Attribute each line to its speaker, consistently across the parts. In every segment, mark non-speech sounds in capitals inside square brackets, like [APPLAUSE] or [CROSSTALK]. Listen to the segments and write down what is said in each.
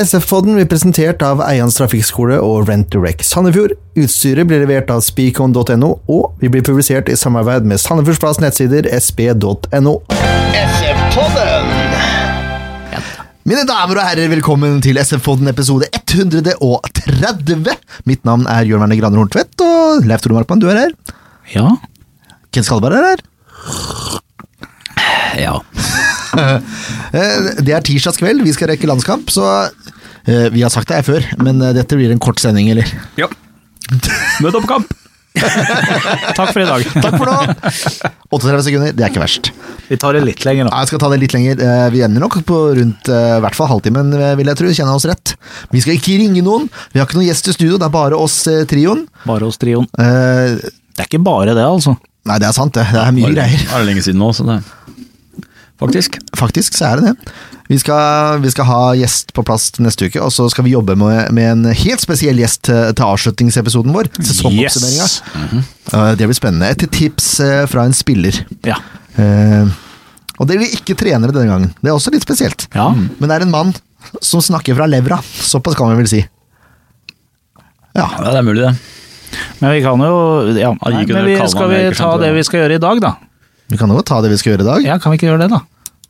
Speaker 1: SF-podden blir presentert av Eians Trafikkskole og Rent2Rec Sandefjord. Utstyret blir levert av speakon.no, og vi blir publisert i samarbeid med Sandefjordsplass nettsider sp.no.
Speaker 2: SF-podden!
Speaker 1: Mine damer og herrer, velkommen til SF-podden episode 130. Mitt navn er Jørn Werner Graner Horntvedt, og Leif Tore Markmann, du er her.
Speaker 3: Ja.
Speaker 1: Ken Skalberg er her.
Speaker 3: Ja.
Speaker 1: [LAUGHS] Eh, Det er tirsdagskveld, vi skal rekke landskamp, så eh, Vi har sagt det her før, men eh, dette blir en kort sending, eller?
Speaker 3: Møt opp på kamp! [LAUGHS] Takk for i dag.
Speaker 1: Takk
Speaker 3: [LAUGHS]
Speaker 1: for nå! 38 sekunder, det er ikke verst.
Speaker 3: Vi tar det litt lenger nå.
Speaker 1: Ja, jeg skal ta det litt lenger. Eh, Vi ender nok på rundt eh, i hvert fall halvtimen, eh, vil jeg tro. Kjenner jeg oss rett. Vi skal ikke ringe noen. Vi har ikke noen gjest i studio, det er bare oss eh, trioen.
Speaker 3: Bare hos Trion.
Speaker 1: Eh,
Speaker 3: Det er ikke bare det, altså.
Speaker 1: Nei, det er sant, det. Det er mye greier. [LAUGHS]
Speaker 4: Er det lenge siden nå, så det Faktisk.
Speaker 1: Faktisk så er det det. Vi skal, vi skal ha gjest på plass til neste uke, og så skal vi jobbe med, med en helt spesiell gjest til, til avslutningsepisoden vår. Sesongoppsummeringa.
Speaker 3: Yes.
Speaker 1: Eh, Det blir spennende. Et tips eh, fra en spiller.
Speaker 3: Ja.
Speaker 1: Eh, Og det blir ikke trenere denne gangen. Det er også litt spesielt. Mm.
Speaker 3: Ja.
Speaker 1: Men det er en mann som snakker fra levra. Såpass kan vi vel si. Ja.
Speaker 4: Ja, det er mulig, det.
Speaker 3: Men vi kan jo ja.
Speaker 4: Han
Speaker 3: Nei,
Speaker 4: gikk
Speaker 3: men
Speaker 4: under
Speaker 3: vi,
Speaker 4: kallenavn
Speaker 3: Skal vi
Speaker 4: Erik
Speaker 3: ta
Speaker 4: Sandberg.
Speaker 3: det vi skal gjøre i dag, da?
Speaker 1: Vi kan jo ta det vi skal gjøre i dag.
Speaker 3: Ja, Kan vi ikke gjøre det, da?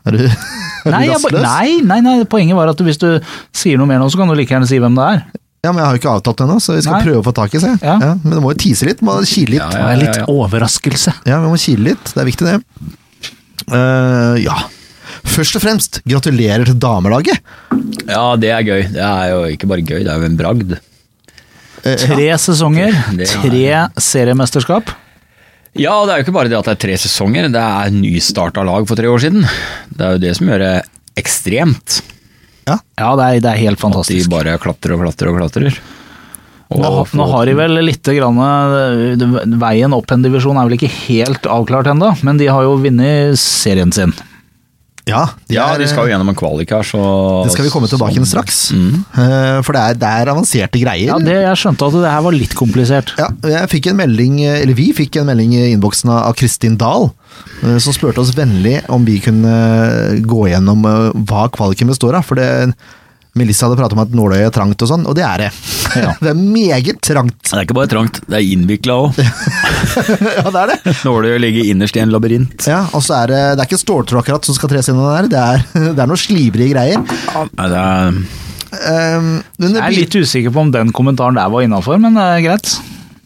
Speaker 1: Er du, [LAUGHS] er
Speaker 3: Nei,
Speaker 1: du
Speaker 3: jeg, ba-
Speaker 1: rastløs?
Speaker 3: nei, nei, nei, poenget var at hvis du sier noe mer nå, så kan du like gjerne si hvem det er.
Speaker 1: Ja, men jeg har jo ikke avtalt det ennå, så vi skal
Speaker 3: Nei.
Speaker 1: prøve å få tak i seg.
Speaker 3: Ja.
Speaker 1: Ja, men du må jo tise litt, må kile litt.
Speaker 3: Det
Speaker 4: Ja,
Speaker 3: er
Speaker 4: ja,
Speaker 3: litt
Speaker 4: ja.
Speaker 3: overraskelse.
Speaker 1: Ja, vi må kile litt. Det er viktig, det. Eh, ja. Først og fremst, gratulerer til damelaget.
Speaker 4: Ja, det er gøy. Det er jo ikke bare gøy, det er jo en bragd.
Speaker 1: Eh,
Speaker 3: Tre sesonger,
Speaker 4: Det er-
Speaker 3: tre seriemesterskap.
Speaker 4: Ja, og det er jo ikke bare det at det er tre sesonger, det er nystarta lag for tre år siden. Det er jo det som gjør det ekstremt.
Speaker 3: Ja, det er, det er helt
Speaker 4: At de
Speaker 3: fantastisk.
Speaker 4: bare klatrer og klatrer og klatrer. Og
Speaker 3: Nå, nå har de vel litt grann, eh, det- Veien opp en divisjon er vel ikke helt avklart ennå, men de har jo vunnet serien sin.
Speaker 1: ja, det er-
Speaker 4: Ja,
Speaker 1: eh,
Speaker 4: de skal jo Mm. gjennom en kvalik her, så
Speaker 1: Det skal vi komme tilbake til straks. Eh, for det er, det er avanserte greier.
Speaker 3: Ja, det, Jeg skjønte at det her var litt komplisert.
Speaker 1: Ja, jeg fikk en melding, eller Vi fikk en melding i innboksen av Kristin Dahl, eh, som spurte oss vennlig om vi kunne gå gjennom eh, hva kvaliken består av. For det, Melissa hadde pratet om at nåløyet er trangt og sånn, og det er det. [LAUGHS] Det er meget trangt.
Speaker 4: Det er ikke bare trangt, det er innvikla [LAUGHS] òg.
Speaker 1: [LAUGHS] Ja, det er det.
Speaker 4: Nåløyet ligger innerst i en labyrint.
Speaker 1: Ja, og så er det, det er ikke ståltråd akkurat som skal tres gjennom der, det er, [LAUGHS] det er noen slibrige greier.
Speaker 4: Nei, det er
Speaker 1: Um, men det
Speaker 3: Jeg er
Speaker 1: blir-
Speaker 3: litt usikker på om den kommentaren der var innafor, men det er greit.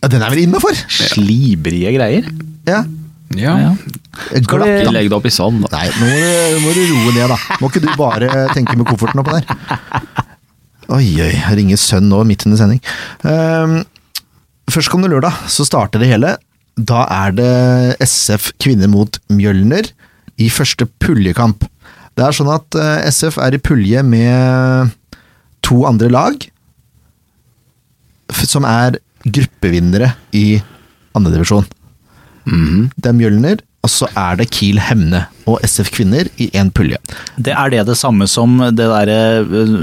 Speaker 1: ja, den er vel innafor?
Speaker 3: Slibrige greier.
Speaker 1: Ja.
Speaker 4: Ja.
Speaker 3: Ja. Skal vi-
Speaker 1: Glatt, da.
Speaker 4: Legg det opp i sand, da.
Speaker 1: Nei, nå må du, må du roe ned, da. Må ikke du bare tenke med kofferten oppå der? Oi, oi. jeg Ringer sønn nå midt under sending. Ehm, Førstkommende lørdag så starter det hele. Da er det SF kvinner mot Mjølner i første puljekamp. Det er sånn at eh, SF er i pulje med to andre lag f- som er gruppevinnere i andredivisjon. Det er Mjølner, og så er det Kiel Hemne og SF Kvinner i én pulje.
Speaker 3: Det Er det det samme som det derre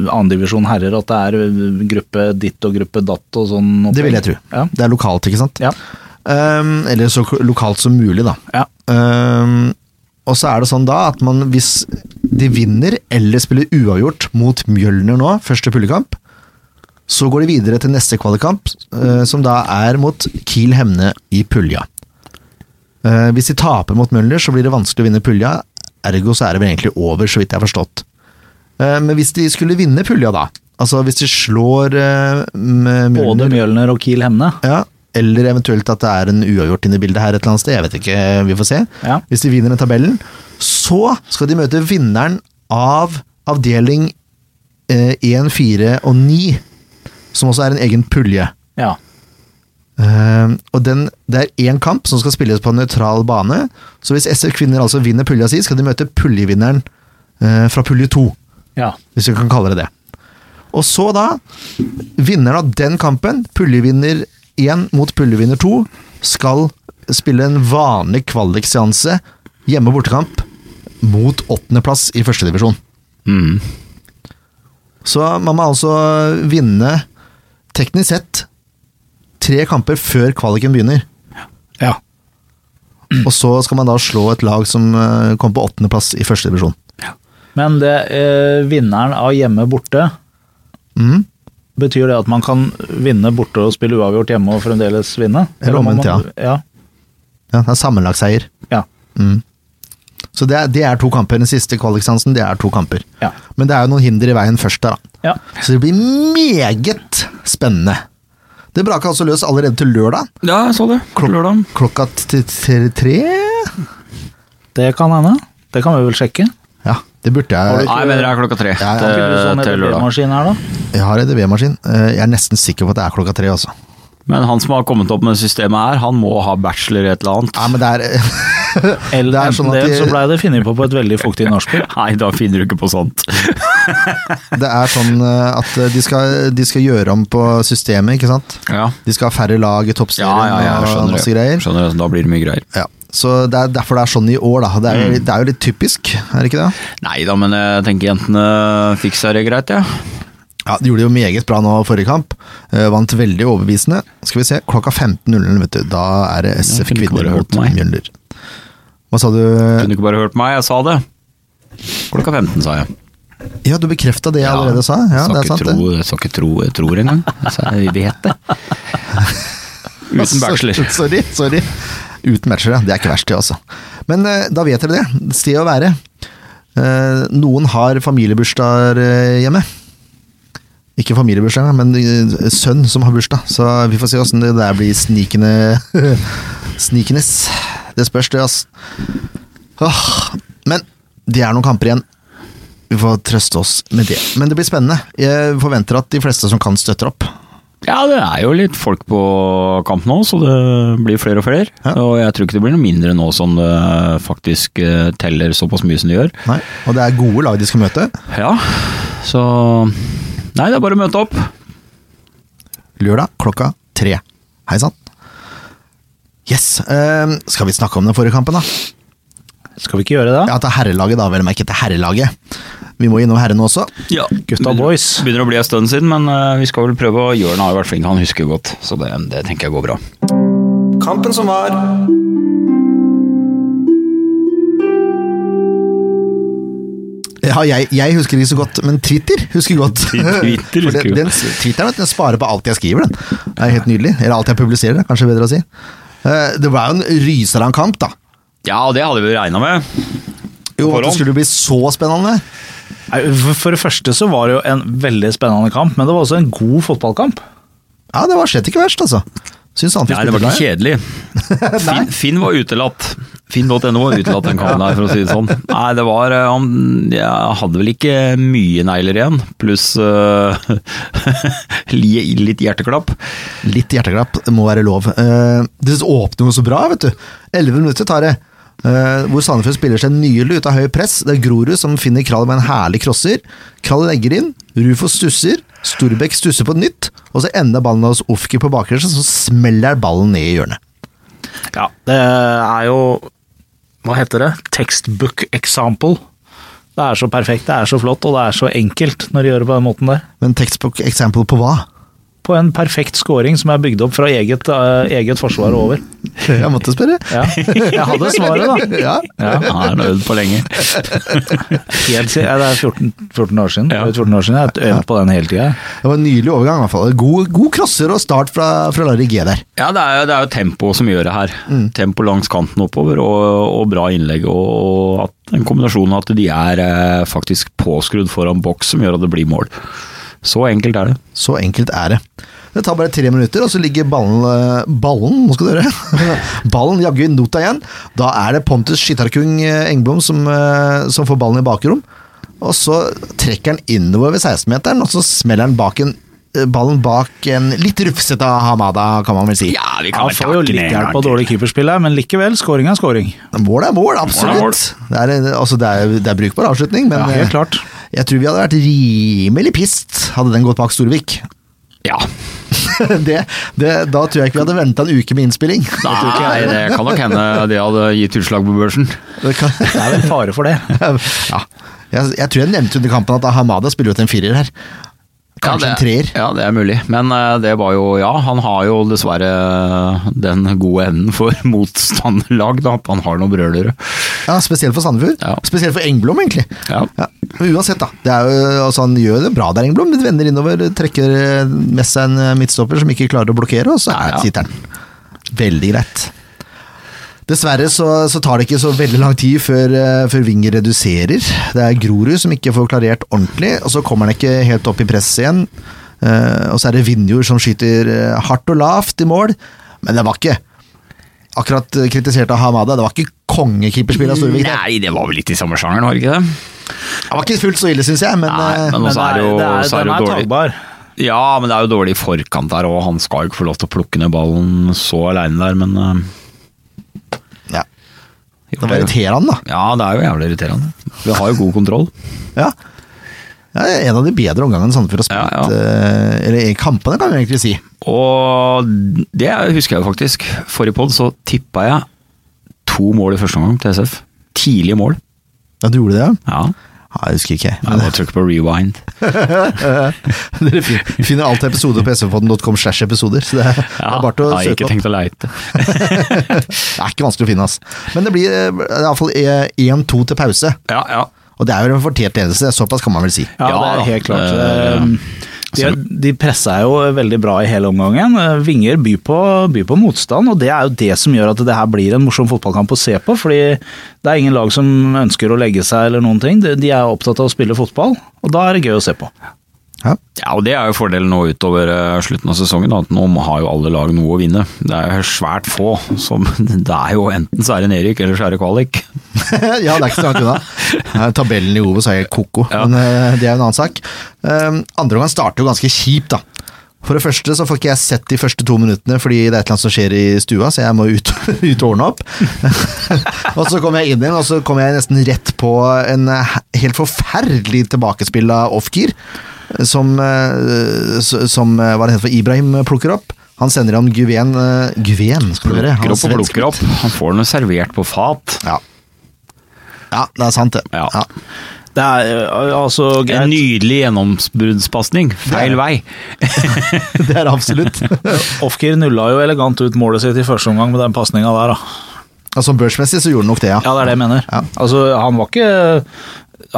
Speaker 3: andredivisjon herrer, at det er eh, gruppe ditt og gruppe datt og sånn? opplegg?
Speaker 1: Det vil jeg tro.
Speaker 3: Ja.
Speaker 1: Det er lokalt, ikke sant?
Speaker 3: Ja.
Speaker 1: Ehm, eller så k- lokalt som mulig, da.
Speaker 3: ja.
Speaker 1: Ehm, og så er det sånn da at man, hvis de vinner eller spiller uavgjort mot Mjølner nå, første puljekamp, så går de videre til neste kvalikamp, eh, som da er mot Kiel Hemne i pulja. Eh, hvis de taper mot Mjølner, så blir det vanskelig å vinne pulja, ergo så er det vel egentlig over, så vidt jeg har forstått. Eh, men hvis de skulle vinne pulja, da, altså hvis de slår eh, m-
Speaker 3: Både
Speaker 1: Mjølner
Speaker 3: Mjølner og Kiel Hemne.
Speaker 1: ja, eller eventuelt at det er en uavgjort inne i bildet her et eller annet sted. Jeg vet ikke, vi får se.
Speaker 3: Ja.
Speaker 1: Hvis de vinner den tabellen, så skal de møte vinneren av avdeling eh, 1, 4 og 9, som også er en egen pulje.
Speaker 3: Ja.
Speaker 1: Eh, og den, Det er én kamp som skal spilles på en nøytral bane. Så hvis SF Kvinner altså vinner pulja si, skal de møte puljevinneren eh, fra pulje 2
Speaker 3: ja.
Speaker 1: hvis vi kan kalle det det. Og så da, vinneren av den kampen, puljevinner 1 mot puljevinner 2, skal spille en vanlig kvalikseanse, hjemme- og bortekamp, mot åttendeplass i førstedivisjon.
Speaker 4: Mm.
Speaker 1: Så man må altså vinne, teknisk sett, tre kamper før kvaliken begynner.
Speaker 3: ja.
Speaker 1: Og så skal man da slå et lag som eh, kom på åttendeplass i førstedivisjon.
Speaker 3: Men det, eh, vinneren av hjemme borte
Speaker 1: Mhm.
Speaker 3: Betyr det at man kan vinne borte og spille uavgjort hjemme og fremdeles vinne?
Speaker 1: Eller
Speaker 3: om man
Speaker 1: omvendt,
Speaker 3: må- ja.
Speaker 1: Ja, det er sammenlagsseier.
Speaker 3: Ja.
Speaker 1: Mm. Så det er, det er to kamper. Den siste kvalikstansen, det er to kamper.
Speaker 3: Ja.
Speaker 1: Men det er jo noen hinder i veien først der, da.
Speaker 3: ja.
Speaker 1: Så det blir meget spennende. Det braka altså løs allerede til lørdag.
Speaker 4: Ja, jeg så det. Lørdag.
Speaker 1: Klokka t- t- tre
Speaker 3: Det kan hende. Det kan vi vel sjekke.
Speaker 1: Ja, det burde jeg
Speaker 4: Nei, jeg mener det er klokka tre
Speaker 1: Ja, ja.
Speaker 3: Har ikke du sånn
Speaker 4: til, til lørdag.
Speaker 3: EDB-maskin her, da?
Speaker 1: Jeg har EDB-maskin. Eh, Jeg er nesten sikker på at det er klokka tre, altså.
Speaker 4: Men han som har kommet opp med systemet her, han må ha bachelor i et eller annet.
Speaker 1: Nei, men det er [LAUGHS]
Speaker 3: Eller
Speaker 1: Det er
Speaker 3: enten
Speaker 1: sånn at
Speaker 3: det,
Speaker 1: de-
Speaker 3: så blei det funnet på på et veldig fuktig nachspiel.
Speaker 4: [LAUGHS] Nei, da finner du ikke på sånt.
Speaker 1: Det er sånn eh, at eh, de skal, de skal gjøre om på systemet, ikke sant?
Speaker 4: Ja,
Speaker 1: De skal ha færre lag i
Speaker 4: ja,
Speaker 1: toppserien
Speaker 4: ja, ja jeg
Speaker 1: og
Speaker 4: skjønner
Speaker 1: masse
Speaker 4: det.
Speaker 1: greier.
Speaker 4: Skjønner det. Da blir det mye greier.
Speaker 1: Ja. Så det er derfor det er sånn i år, da. Det er,
Speaker 4: Mm.
Speaker 1: jo- det er jo litt typisk, er det ikke det?
Speaker 4: Nei da, men jeg tenker jentene fikser det greit, ja.
Speaker 1: Ja, De gjorde det jo meget bra nå forrige kamp. Eh, vant veldig overbevisende. Skal vi se, klokka 15.00, vet du. Da er det SF
Speaker 4: kunne
Speaker 1: Kvinner
Speaker 4: ikke bare hørt
Speaker 1: mot
Speaker 4: meg.
Speaker 1: Mjølner. Hva sa du?
Speaker 4: Kunne du ikke bare hørt meg? Jeg sa det. Klokka 15, sa jeg.
Speaker 1: Ja, du bekrefta det jeg allerede sa. Ja,
Speaker 4: jeg
Speaker 1: det er
Speaker 4: skal
Speaker 1: sant,
Speaker 4: ikke
Speaker 1: det.
Speaker 4: tro, jeg skal ikke tro jeg tror engang. Jeg sa, Jeg vet
Speaker 1: [LAUGHS]
Speaker 4: det. Uten bachelor.
Speaker 1: Sorry, sorry. Uten bachelor, ja. Det er ikke verst, det, altså. Men eh, da vet dere det. Sted å være. Eh, noen har familiebursdager eh, hjemme. Ikke familiebursdag, men eh, sønn som har bursdag. Så vi får se åssen det der blir snikende [LAUGHS] Snikenes. Det spørs, det, altså. Åh, men det er noen kamper igjen. Vi får trøste oss med det. Men det blir spennende. Jeg forventer at de fleste som kan, støtter opp.
Speaker 4: Ja, det er jo litt folk på kamp nå, så det blir flere og flere.
Speaker 1: Ja.
Speaker 4: Og jeg tror ikke det blir noe mindre nå som det faktisk eh, teller såpass mye som det gjør.
Speaker 1: Nei. Og det er gode lag de skal møte.
Speaker 4: Ja, så Nei, det er bare å møte opp.
Speaker 1: Lørdag klokka tre. Hei sann. Yes. eh, skal vi snakke om den forrige kampen, da?
Speaker 3: Skal vi ikke gjøre det?
Speaker 1: Ja, til herrelaget, da, vel å merke. Til herrelaget. Vi må innom herrene også.
Speaker 4: Ja,
Speaker 3: Gutta boys.
Speaker 4: Begynner å bli en stund siden, men eh, vi skal vel prøve å gjøre den. Har jo vært flink, han husker jo godt, så det, det tenker jeg går bra.
Speaker 1: Kampen som var. Ja, jeg, jeg husker ikke så godt, men Twitter husker godt.
Speaker 4: [LAUGHS] Twitter
Speaker 1: [LAUGHS] For
Speaker 4: husker
Speaker 1: den,
Speaker 4: godt.
Speaker 1: den, Twitter vet du, den sparer på alt jeg skriver, den. Det er helt nydelig. Eller alt jeg publiserer, kanskje bedre å si. Eh, Det var jo en rysere kamp, da.
Speaker 4: Ja, og det hadde vi regna med.
Speaker 1: Jo, at
Speaker 4: Forhånd.
Speaker 1: det skulle bli så spennende.
Speaker 3: Nei, for- For det første så var det jo en veldig spennende kamp, men det var også en god fotballkamp.
Speaker 1: Ja, det var slett ikke verst, altså. Syns Sandefjord
Speaker 4: Nei, det
Speaker 1: spilte
Speaker 4: var
Speaker 1: bra,
Speaker 4: ikke
Speaker 1: ja.
Speaker 4: kjedelig. Finn, Finn var utelatt. Finn.no var utelatt den kampen her, for å si det sånn. Nei, det var eh, Han jeg hadde vel ikke mye negler igjen, pluss eh, [LAUGHS] li- litt hjerteklapp.
Speaker 1: Litt hjerteklapp det må være lov. Eh, det åpner jo så bra, vet du. Elleve minutter tar det. Eh, hvor Sandefjord spiller seg nylig ut av høy press. Det er Grorud som finner Krall med en herlig crosser. Krall legger inn, Rufo stusser, Storbekk stusser på nytt, og så ender ballen hos Ofki på bakgrensen, så smeller ballen ned i hjørnet.
Speaker 3: Ja, det er jo Hva heter det? Textbook example. Det er så perfekt, det er så flott, og det er så enkelt når de gjør det på den måten der.
Speaker 1: Men textbook example på hva?
Speaker 3: På en perfekt scoring som er bygd opp fra eget, eh, eget forsvar og over.
Speaker 1: Jeg måtte spørre.
Speaker 4: [LAUGHS]
Speaker 3: Ja. Jeg hadde svaret, da.
Speaker 1: [LAUGHS] Ja.
Speaker 4: Ja, han har han øvd på lenge.
Speaker 3: Helt siden, ja, det er 14, 14 år siden.
Speaker 4: Ja.
Speaker 3: Det er 14 år siden jeg har øvd på den hele tida.
Speaker 1: Det var en nydelig overgang, i hvert fall. God, god crosser og start fra, fra Larry G der.
Speaker 4: Ja, det er, jo- det er jo tempo som gjør det her. Tempo langs kanten oppover og, og bra innlegg. Og, og at en kombinasjon av at de er eh, faktisk påskrudd foran boks som gjør at det blir mål. Så enkelt er det.
Speaker 1: Så enkelt er det. Det tar bare tre minutter, og så ligger ballen eh, Ballen, nå skal du høre. [LAUGHS] ballen jaggu i nota igjen. Da er det Pontus Skytterkung eh, Engblom som, eh, som får ballen i bakrom. Og så trekker han innover ved 16-meteren, og så smeller han bak en, eh, ballen bak en litt rufsete Hamada, kan man vel si.
Speaker 4: Ja, vi
Speaker 3: Han
Speaker 4: vel
Speaker 3: får jo
Speaker 4: takke det
Speaker 3: litt
Speaker 4: en gang
Speaker 3: hjelp av
Speaker 4: til.
Speaker 3: dårlig keeperspill her, men likevel, scoring er scoring.
Speaker 1: Mål er mål, absolutt.
Speaker 4: Mål er mål.
Speaker 1: Det, er, en- altså, det, er, det er brukbar avslutning, men
Speaker 3: Ja,
Speaker 1: eh,
Speaker 3: helt klart.
Speaker 1: jeg tror vi hadde vært rimelig pissed hadde den gått bak Storvik.
Speaker 4: Ja.
Speaker 1: [LAUGHS] det, det, da tror jeg ikke vi hadde venta en uke med innspilling.
Speaker 4: Nei, det kan nok hende de hadde gitt utslag på børsen.
Speaker 1: Det kan, [LAUGHS]
Speaker 3: Det er vel fare for det.
Speaker 1: ja. jeg, jeg tror jeg nevnte under kampen at Hamada spiller jo til en firer her. Kanskje
Speaker 4: ja, det,
Speaker 1: en treer.
Speaker 4: Ja, det er mulig. Men eh, det var jo Ja, han har jo eh, [LAUGHS] dessverre den gode enden for motstanderlag, da. at Han har noen brølere.
Speaker 1: Ja, spesielt for Sandefjord.
Speaker 4: Ja.
Speaker 1: Spesielt for Engblom, egentlig.
Speaker 4: Ja.
Speaker 1: Ja, men uansett, da. Det er jo, altså, han gjør det bra der, Engblom. Men vender innover, trekker eh, med seg en eh, midtstopper som ikke klarer å blokkere, og så er,
Speaker 4: Ja.
Speaker 1: sitter han. Veldig greit. Dessverre så, så tar det ikke så veldig lang tid før, eh, før Winger reduserer. Det er Grorud som ikke får klarert ordentlig, og så kommer han ikke helt opp i press igjen. Eh, og så er det Vinjord som skyter eh, hardt og lavt i mål, men det var ikke Akkurat eh, kritisert av Hamada, det var ikke kongekeeperspill av Storvik. der.
Speaker 4: Nei, det var vel litt i samme sjangeren, var det ikke det?
Speaker 1: Det var ikke fullt så ille, syns jeg, men,
Speaker 4: Nei,
Speaker 1: eh,
Speaker 4: men også er det jo,
Speaker 3: det er,
Speaker 4: så
Speaker 3: den
Speaker 4: er det
Speaker 3: er
Speaker 4: jo dårlig.
Speaker 3: tagbar.
Speaker 4: Ja, men det er jo dårlig i forkant der, og han skal jo ikke få lov til å plukke ned ballen så aleine der, men eh,
Speaker 1: ja. Det var irriterende, da.
Speaker 4: Ja, det er jo jævlig irriterende. Vi har jo god kontroll.
Speaker 1: Ja. Ja, det er en av de bedre omgangene Sandefjord har spilt,
Speaker 4: Ja, ja.
Speaker 1: eh, eller i kampene, kan vi egentlig si.
Speaker 4: Og det husker jeg jo faktisk. Forrige pod så tippa jeg to mål i første omgang til SF. Tidlige mål.
Speaker 1: Ja, du gjorde det, ja?
Speaker 4: Ja.
Speaker 1: Ja, jeg husker ikke.
Speaker 4: Jeg
Speaker 1: Men,
Speaker 4: må trykke på rewind.
Speaker 1: [LAUGHS] dere fin- finner alt episoder på svpodden.com slash episoder, så det er, det
Speaker 4: Ja,
Speaker 1: er bare til å
Speaker 4: har jeg
Speaker 1: søke
Speaker 4: ikke
Speaker 1: opp.
Speaker 4: tenkt å leite.
Speaker 1: [LAUGHS] Det er ikke vanskelig å finne, ass. Men det blir eh, iallfall 1-2 til pause,
Speaker 4: Ja, ja.
Speaker 1: og det er jo en fortjent ledelse, såpass kan man vel si.
Speaker 3: Ja,
Speaker 4: Ja,
Speaker 3: det
Speaker 4: da.
Speaker 3: er helt klart.
Speaker 4: Eh,
Speaker 3: Eh, De, de pressa jo veldig bra i hele omgangen. Eh, Vinger byr på, byr på motstand, og det er jo det som gjør at det her blir en morsom fotballkamp å se på. fordi det er ingen lag som ønsker å legge seg eller noen ting. De de er opptatt av å spille fotball, og da er det gøy å se på.
Speaker 1: Ja.
Speaker 4: Ja, og Det er jo fordelen nå utover eh, slutten av sesongen. da, at Nå har jo alle lag noe å vinne. Det er jo svært få som [LAUGHS] Det er jo enten så er det nedrykk, eller så er det kvalik.
Speaker 1: [LAUGHS] ja, det er ikke så langt unna. Eh, Tabellen i Ove sa jeg koko,
Speaker 4: Ja.
Speaker 1: men eh, det er jo en annen sak. Um, Andre omgang starter jo ganske kjipt, da. For det første så får ikke jeg sett de første to minuttene fordi det er et eller annet som skjer i stua, så jeg må ut, [LAUGHS] ut og ordne opp. og så kommer jeg inn igjen, og så kommer jeg nesten rett på en eh, helt forferdelig tilbakespill av off-gear, som, eh, s- som eh, hva det heter for Ibrahim plukker opp. Han sender han Guven eh, Guven, skal du høre.
Speaker 4: Plukker opp og
Speaker 1: Hans
Speaker 4: plukker opp. Han får noe servert på fat.
Speaker 1: Ja. ja, det er sant, det.
Speaker 4: Ja.
Speaker 1: Ja. [LAUGHS]
Speaker 3: Det er eh, altså
Speaker 4: En
Speaker 3: greit.
Speaker 4: nydelig gjennombruddspasning. Feil vei.
Speaker 1: Det er det absolutt.
Speaker 3: Ofker nulla jo elegant ut målet sitt i første omgang med den pasninga der, da.
Speaker 1: Altså Børsmessig så gjorde han nok det, ja.
Speaker 3: Ja, det er det jeg mener.
Speaker 1: Ja.
Speaker 3: Altså, han var ikke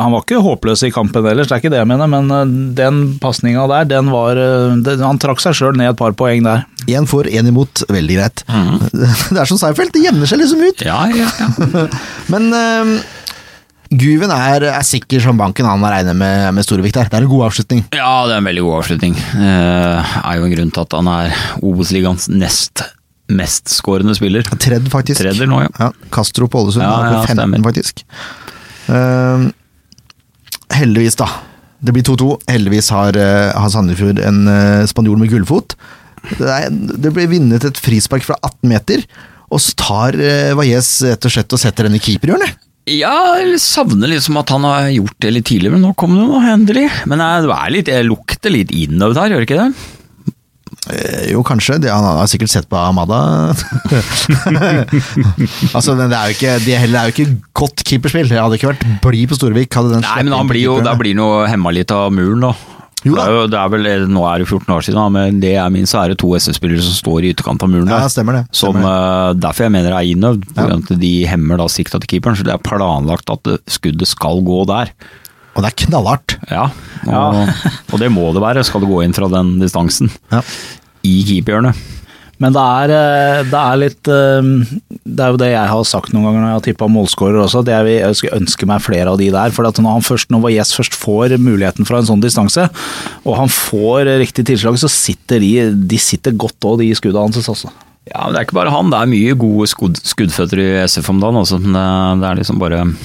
Speaker 3: han var ikke håpløs i kampen ellers, det er ikke det jeg mener, men eh, den pasninga der, den var eh, den, Han trakk seg sjøl ned et par poeng der.
Speaker 1: Én for, én imot. Veldig greit. [LAUGHS] Det er som Seinfeld, det jevner seg liksom ut.
Speaker 4: Ja, ja, ja.
Speaker 1: Men eh, Guven er, er sikker som banken han har regnet med, med Storevik der. Det er en god avslutning.
Speaker 4: ja, det er en veldig god avslutning. Eh, er jo en grunn til at han er Obos-ligaens nest mestskårende spiller.
Speaker 1: Tredd, faktisk.
Speaker 4: Tredjer nå, ja.
Speaker 1: Ja, Castro på Ålesund,
Speaker 4: Ja,
Speaker 1: han er
Speaker 4: ja,
Speaker 1: på 15
Speaker 4: stemmer.
Speaker 1: faktisk. Ehm, heldigvis, da. Det blir 2-2. Heldigvis har, eh, har Sandefjord en eh, spanjol med gullfot. Det, er, det blir vunnet et frispark fra 18 meter, og så tar uh, Valles rett og slett og setter den i keeperhjørnet.
Speaker 4: Ja, jeg savner liksom at han har gjort det litt tidligere, men nå kom det noe, endelig. Men jeg, det er litt, jeg lukter litt innøvd her, gjør det ikke det?
Speaker 1: Eh, jo, kanskje. Det, han har sikkert sett på Amada. [LAUGHS] altså, men det er jo ikke, det heller er jo ikke godt keeperspill. Jeg hadde ikke vært blid på Storvik. Hadde den
Speaker 4: Nei,
Speaker 1: slått
Speaker 4: men han
Speaker 1: inn på
Speaker 4: blir jo,
Speaker 1: keeperhjørnet.
Speaker 4: da blir noe hemma litt av muren, da.
Speaker 1: Jo
Speaker 4: Det
Speaker 1: da.
Speaker 4: er jo, det er vel, nå er det 14 år siden, da, men det jeg minst, så er det to SF-spillere som står i ytterkant av muren
Speaker 1: Ja,
Speaker 4: der.
Speaker 1: stemmer det.
Speaker 4: Som,
Speaker 1: stemmer det.
Speaker 4: eh, derfor jeg mener det er innøvd, på
Speaker 1: Ja.
Speaker 4: grunn av at de hemmer da sikta til keeperen, så det er planlagt at det- skuddet skal gå der.
Speaker 1: Og det er knallhardt.
Speaker 4: Ja, og, [LAUGHS] og det må det være, skal det gå inn fra den distansen.
Speaker 1: Ja.
Speaker 4: I keeperhjørnet.
Speaker 3: Men det er, eh, det er litt eh, Det er jo det jeg har sagt noen ganger når jeg har tippa målskårer også, at jeg vil- jeg skulle ønske meg flere av de der. For at når han først, når Valles først får muligheten fra en sånn distanse, og han får eh, riktig tilslag, så sitter de, de sitter godt òg, de skudda hans også.
Speaker 4: Ja, men det er ikke bare han. Det er mye gode skudd, skuddføtter i SF om dagen også, men det- det er liksom bare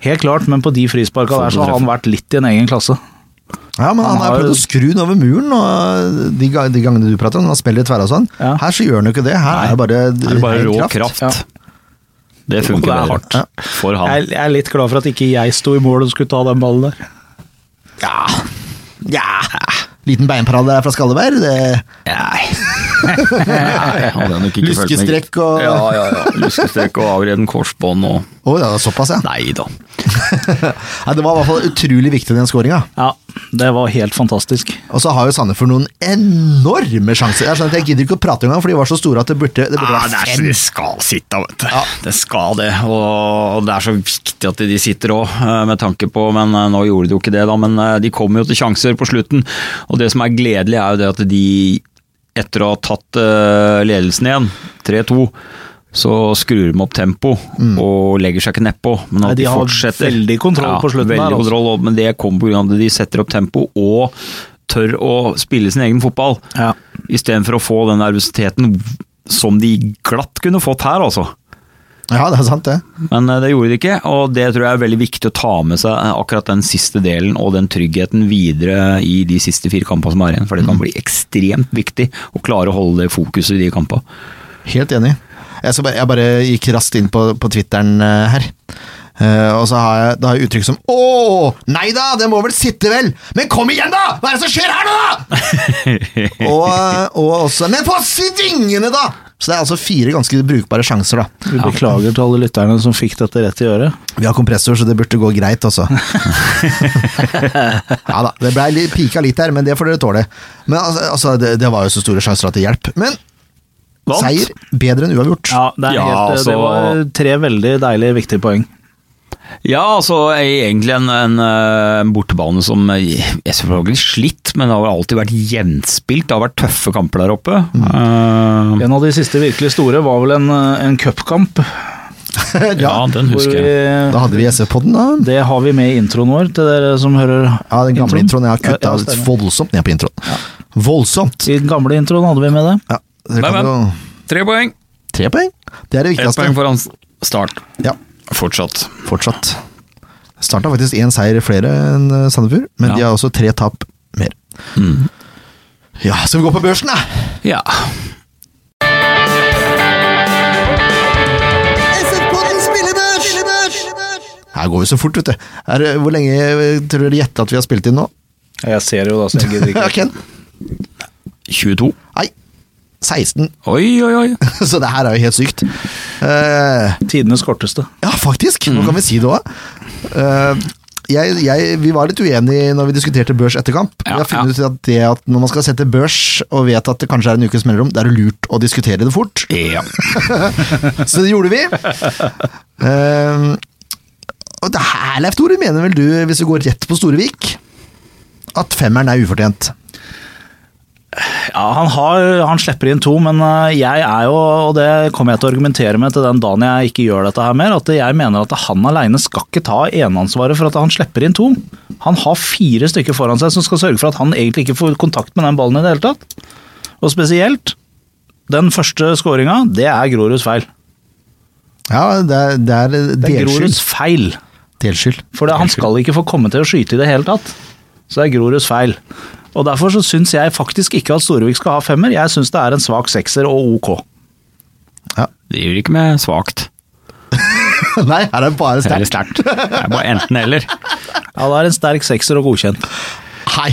Speaker 3: Helt klart, men på de frisparka der så har han vært litt i en egen klasse.
Speaker 1: Ja, men han
Speaker 3: Han
Speaker 1: har
Speaker 3: har-
Speaker 1: prøvd å skru den over muren og de, ga- de gangene du prater om, når han spiller tverra og sånn.
Speaker 3: Ja.
Speaker 1: Her så gjør han jo ikke det. Her er det bare,
Speaker 4: er det bare
Speaker 1: ren
Speaker 4: rå kraft.
Speaker 3: Ja.
Speaker 4: Det funker
Speaker 3: det er
Speaker 4: veldig
Speaker 3: hardt.
Speaker 4: hardt for han.
Speaker 3: Jeg, jeg er litt glad for at ikke jeg sto i mål og skulle ta den ballen der.
Speaker 1: Ja. ja. Liten beinparade der fra Skalleberg. Det,
Speaker 4: Nei. [LAUGHS] Nei, hadde jeg nok ikke følt meg-
Speaker 1: Lyskestrekk og-
Speaker 4: Ja, ja, ja. Lyskestrekk og avreden korsbånd og
Speaker 1: Å ja, såpass, [LAUGHS] ja.
Speaker 4: Nei da.
Speaker 1: Nei, det var i hvert fall utrolig viktig, den skåringa.
Speaker 3: Ja, det var helt fantastisk.
Speaker 1: Og så har jo Sandefjord noen enorme sjanser. Jeg, skjønner at jeg gidder ikke å prate engang, for de var så store at det burde, det burde
Speaker 4: Ja, Ah, det,
Speaker 1: vært
Speaker 4: er så,
Speaker 1: fem.
Speaker 4: det skal sitte, vet du. Det skal det. Og det er så viktig at de sitter òg, med tanke på Men eh, nå gjorde de jo ikke det, da. Men eh, de kommer jo til sjanser på slutten. Og det som er gledelig, er jo det at de, etter å ha tatt eh, ledelsen igjen, 3-2 så skrur de opp tempo og legger seg ikke nedpå.
Speaker 3: Mm.
Speaker 4: Men at
Speaker 3: Nei, de har
Speaker 4: fortsetter.
Speaker 3: veldig kontroll på slutten
Speaker 4: veldig
Speaker 3: der, altså.
Speaker 4: kontroll, og- men det kommer pga. at de setter opp tempo og tør å spille sin egen fotball.
Speaker 3: Ja.
Speaker 4: Istedenfor å få den nervøsiteten som de glatt kunne fått her, altså.
Speaker 1: Ja, det er sant, det.
Speaker 4: Men eh, det gjorde de ikke, og det tror jeg er veldig viktig å ta med seg eh, akkurat den siste delen og den tryggheten videre i de siste fire kampene som er igjen. For det kan bli ekstremt viktig å klare å holde det fokuset i de kampene.
Speaker 1: Helt enig. Jeg, skal bare, jeg bare gikk raskt inn på, på Twitteren eh, her. Eh, og så har jeg, da har jeg uttrykk som Å, nei da, det må vel sitte, vel! Men kom igjen, da! Hva er det som skjer her nå, da?! og, og også Men på svingene, da! Så det er altså fire ganske brukbare sjanser, da.
Speaker 3: Vi beklager til alle lytterne som fikk dette rett i øret.
Speaker 1: Vi har kompressor, så det burde gå greit også. ja da, det ble li- pika litt her, men det får dere tåle. Men altså, altså det, det var jo så store sjanser at det hjelp. Men
Speaker 4: Vant.
Speaker 1: seier bedre enn uavgjort. [LAUGHS]
Speaker 3: Ja, det, er
Speaker 4: Ja,
Speaker 3: helt,
Speaker 4: altså-
Speaker 3: det var eh, tre veldig deilige, viktige poeng.
Speaker 4: Ja, altså egentlig en, en, eh, en bortebane som eh, er selvfølgelig slitt, men det har vel alltid vært jevnspilt. Det har vært tøffe kamper der oppe. Eh,
Speaker 3: En av de siste virkelig store var vel en, eh, en cupkamp.
Speaker 4: ja, den
Speaker 3: hvor
Speaker 4: husker jeg.
Speaker 1: Da
Speaker 3: vi-
Speaker 1: hadde vi SF-podden, da.
Speaker 3: Det har vi med i introen vår, til dere som hører
Speaker 1: Ja, den gamle introen. Jeg har kutta
Speaker 3: Ja, ja, stemmer.
Speaker 1: voldsomt ned på introen. Voldsomt!
Speaker 3: I den gamle introen hadde vi med det.
Speaker 1: Ja, dere
Speaker 4: Nei,
Speaker 1: kan jo
Speaker 4: men. Tre poeng.
Speaker 1: Tre poeng! Det er det
Speaker 4: Ett poeng
Speaker 1: viktigste.
Speaker 4: foran start.
Speaker 1: Ja,
Speaker 4: Fortsatt.
Speaker 1: fortsatt. Starta faktisk én seier flere enn eh, Sandefjord, men
Speaker 4: Ja.
Speaker 1: de har også tre tap mer. Ja, skal vi gå på børsen, da?
Speaker 4: Ja.
Speaker 1: Her går vi så fort, vet du. Er, det- hvor lenge eh, tror dere gjette at vi har spilt inn nå?
Speaker 3: Jeg ser jo da, så jeg
Speaker 1: [LAUGHS]
Speaker 3: gidder [LAUGHS]
Speaker 1: Ja,
Speaker 3: ikke.
Speaker 1: Ken?
Speaker 4: 22.
Speaker 1: Nei, 16.
Speaker 4: Oi, oi, oi.
Speaker 1: [LAUGHS] Så det her er jo helt sykt. Eh,
Speaker 3: Tidenes korteste.
Speaker 1: ja, faktisk. Nå kan vi si det òg. jeg, jeg, vi var litt uenige når vi diskuterte børs etter kamp.
Speaker 4: Ja,
Speaker 1: vi har funnet ut at, det at når man skal sette børs og vet at det kanskje er en ukes mellomrom, det er det lurt å diskutere det fort.
Speaker 4: Ja.
Speaker 1: [LAUGHS] Så det gjorde vi. Ehm, og det her, Leif Tore, mener vel du, hvis vi går rett på Storevik, at femmeren er ufortjent?
Speaker 3: Ja, han, har, han slipper inn to, men eh, jeg er jo, og det kommer jeg til å argumentere med til den dagen jeg ikke gjør dette her mer, at jeg mener at han alene skal ikke ta eneansvaret for at han slipper inn to. Han har fire stykker foran seg som skal sørge for at han egentlig ikke får kontakt med den ballen i det hele tatt. Og spesielt, den første skåringa, det er Groruds feil.
Speaker 1: Ja, det er, det er
Speaker 3: Det er Groruds
Speaker 1: delskyld.
Speaker 3: feil.
Speaker 1: delskyld. [LAUGHS]
Speaker 3: For det, han skal ikke få komme til å skyte i det hele tatt. Så det er Groruds feil. Og Derfor så syns jeg faktisk ikke at Storevik skal ha femmer. Jeg syns det er en svak sekser og ok.
Speaker 4: Det gjør ikke med svakt.
Speaker 1: Nei, her er det bare
Speaker 4: Det er litt
Speaker 1: sterkt.
Speaker 4: sterkt. Det er bare enten eller.
Speaker 3: Ja, det er en sterk sekser og [LAUGHS] godkjent.
Speaker 1: Hei!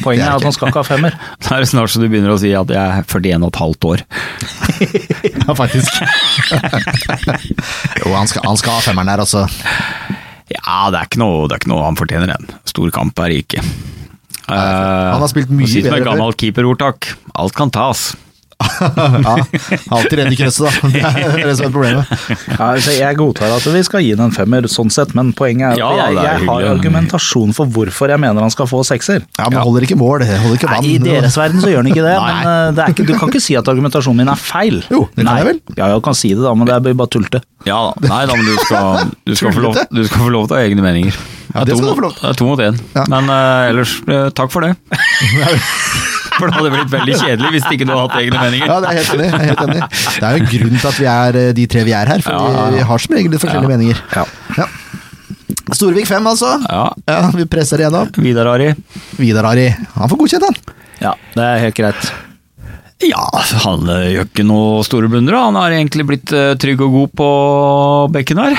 Speaker 3: Poenget er at han skal ikke ha femmer.
Speaker 4: Da er det snart så du begynner å si at jeg er 41 og et halvt år.
Speaker 1: Ja, faktisk. jo, han skal, han skal ha femmeren der, altså.
Speaker 4: Ja, det er ikke noe, det er ikke noe han fortjener en. Stor kamp er det ikke. Eh,
Speaker 1: Han har spilt mye
Speaker 4: Sitt med
Speaker 1: bedre før.
Speaker 4: gammel keeperordtak. Alt kan tas.
Speaker 1: Ja, alltid redd i krøsset, da. Det er det som er problemet.
Speaker 3: Ja, altså, jeg godtar at vi skal gi ham en femmer, sånn sett, men poenget er at
Speaker 4: Ja,
Speaker 3: jeg,
Speaker 4: det er
Speaker 3: jeg har
Speaker 4: hyggelig.
Speaker 3: argumentasjon for hvorfor jeg mener han skal få sekser.
Speaker 1: Ja, men holder ikke mål, holder ikke
Speaker 3: Nei,
Speaker 1: vann.
Speaker 3: I deres verden så gjør han [LAUGHS] ikke det,
Speaker 1: Nei.
Speaker 3: men eh, det er ikke, du kan ikke si at argumentasjonen min er feil.
Speaker 1: Jo, det kan
Speaker 3: Nei.
Speaker 1: jeg vel.
Speaker 3: Ja, jeg kan si det da, men det blir bare tullete.
Speaker 4: Ja da. Nei da, men du
Speaker 1: [LAUGHS]
Speaker 4: skal, du skal, få, lov,
Speaker 1: Tullete.
Speaker 4: du skal få lov til å ha egne meninger.
Speaker 1: Ja, det
Speaker 4: er to
Speaker 1: skal du
Speaker 4: mot-
Speaker 1: få lov til.
Speaker 4: Det er to mot én.
Speaker 1: Ja.
Speaker 4: Men eh, ellers, eh, takk
Speaker 1: [LAUGHS]
Speaker 4: for det. [LAUGHS] For det hadde blitt veldig kjedelig hvis ikke du hadde hatt egne meninger.
Speaker 1: Ja, det er helt enig. jeg er Helt enig. Det er jo en grunn til at vi er eh, de tre vi er her, for vi har som regel litt forskjellige meninger.
Speaker 3: Ja.
Speaker 1: Ja. Storvik 5, altså.
Speaker 4: Ja.
Speaker 1: Ja, vi presser igjennom.
Speaker 4: Vidar Ari.
Speaker 1: Vidar Ari, han får godkjent, han.
Speaker 3: Ja, det er helt greit.
Speaker 4: Ja, han eh, gjør ikke noe store blunder. da. Han har egentlig blitt eh, trygg og god på bekken her.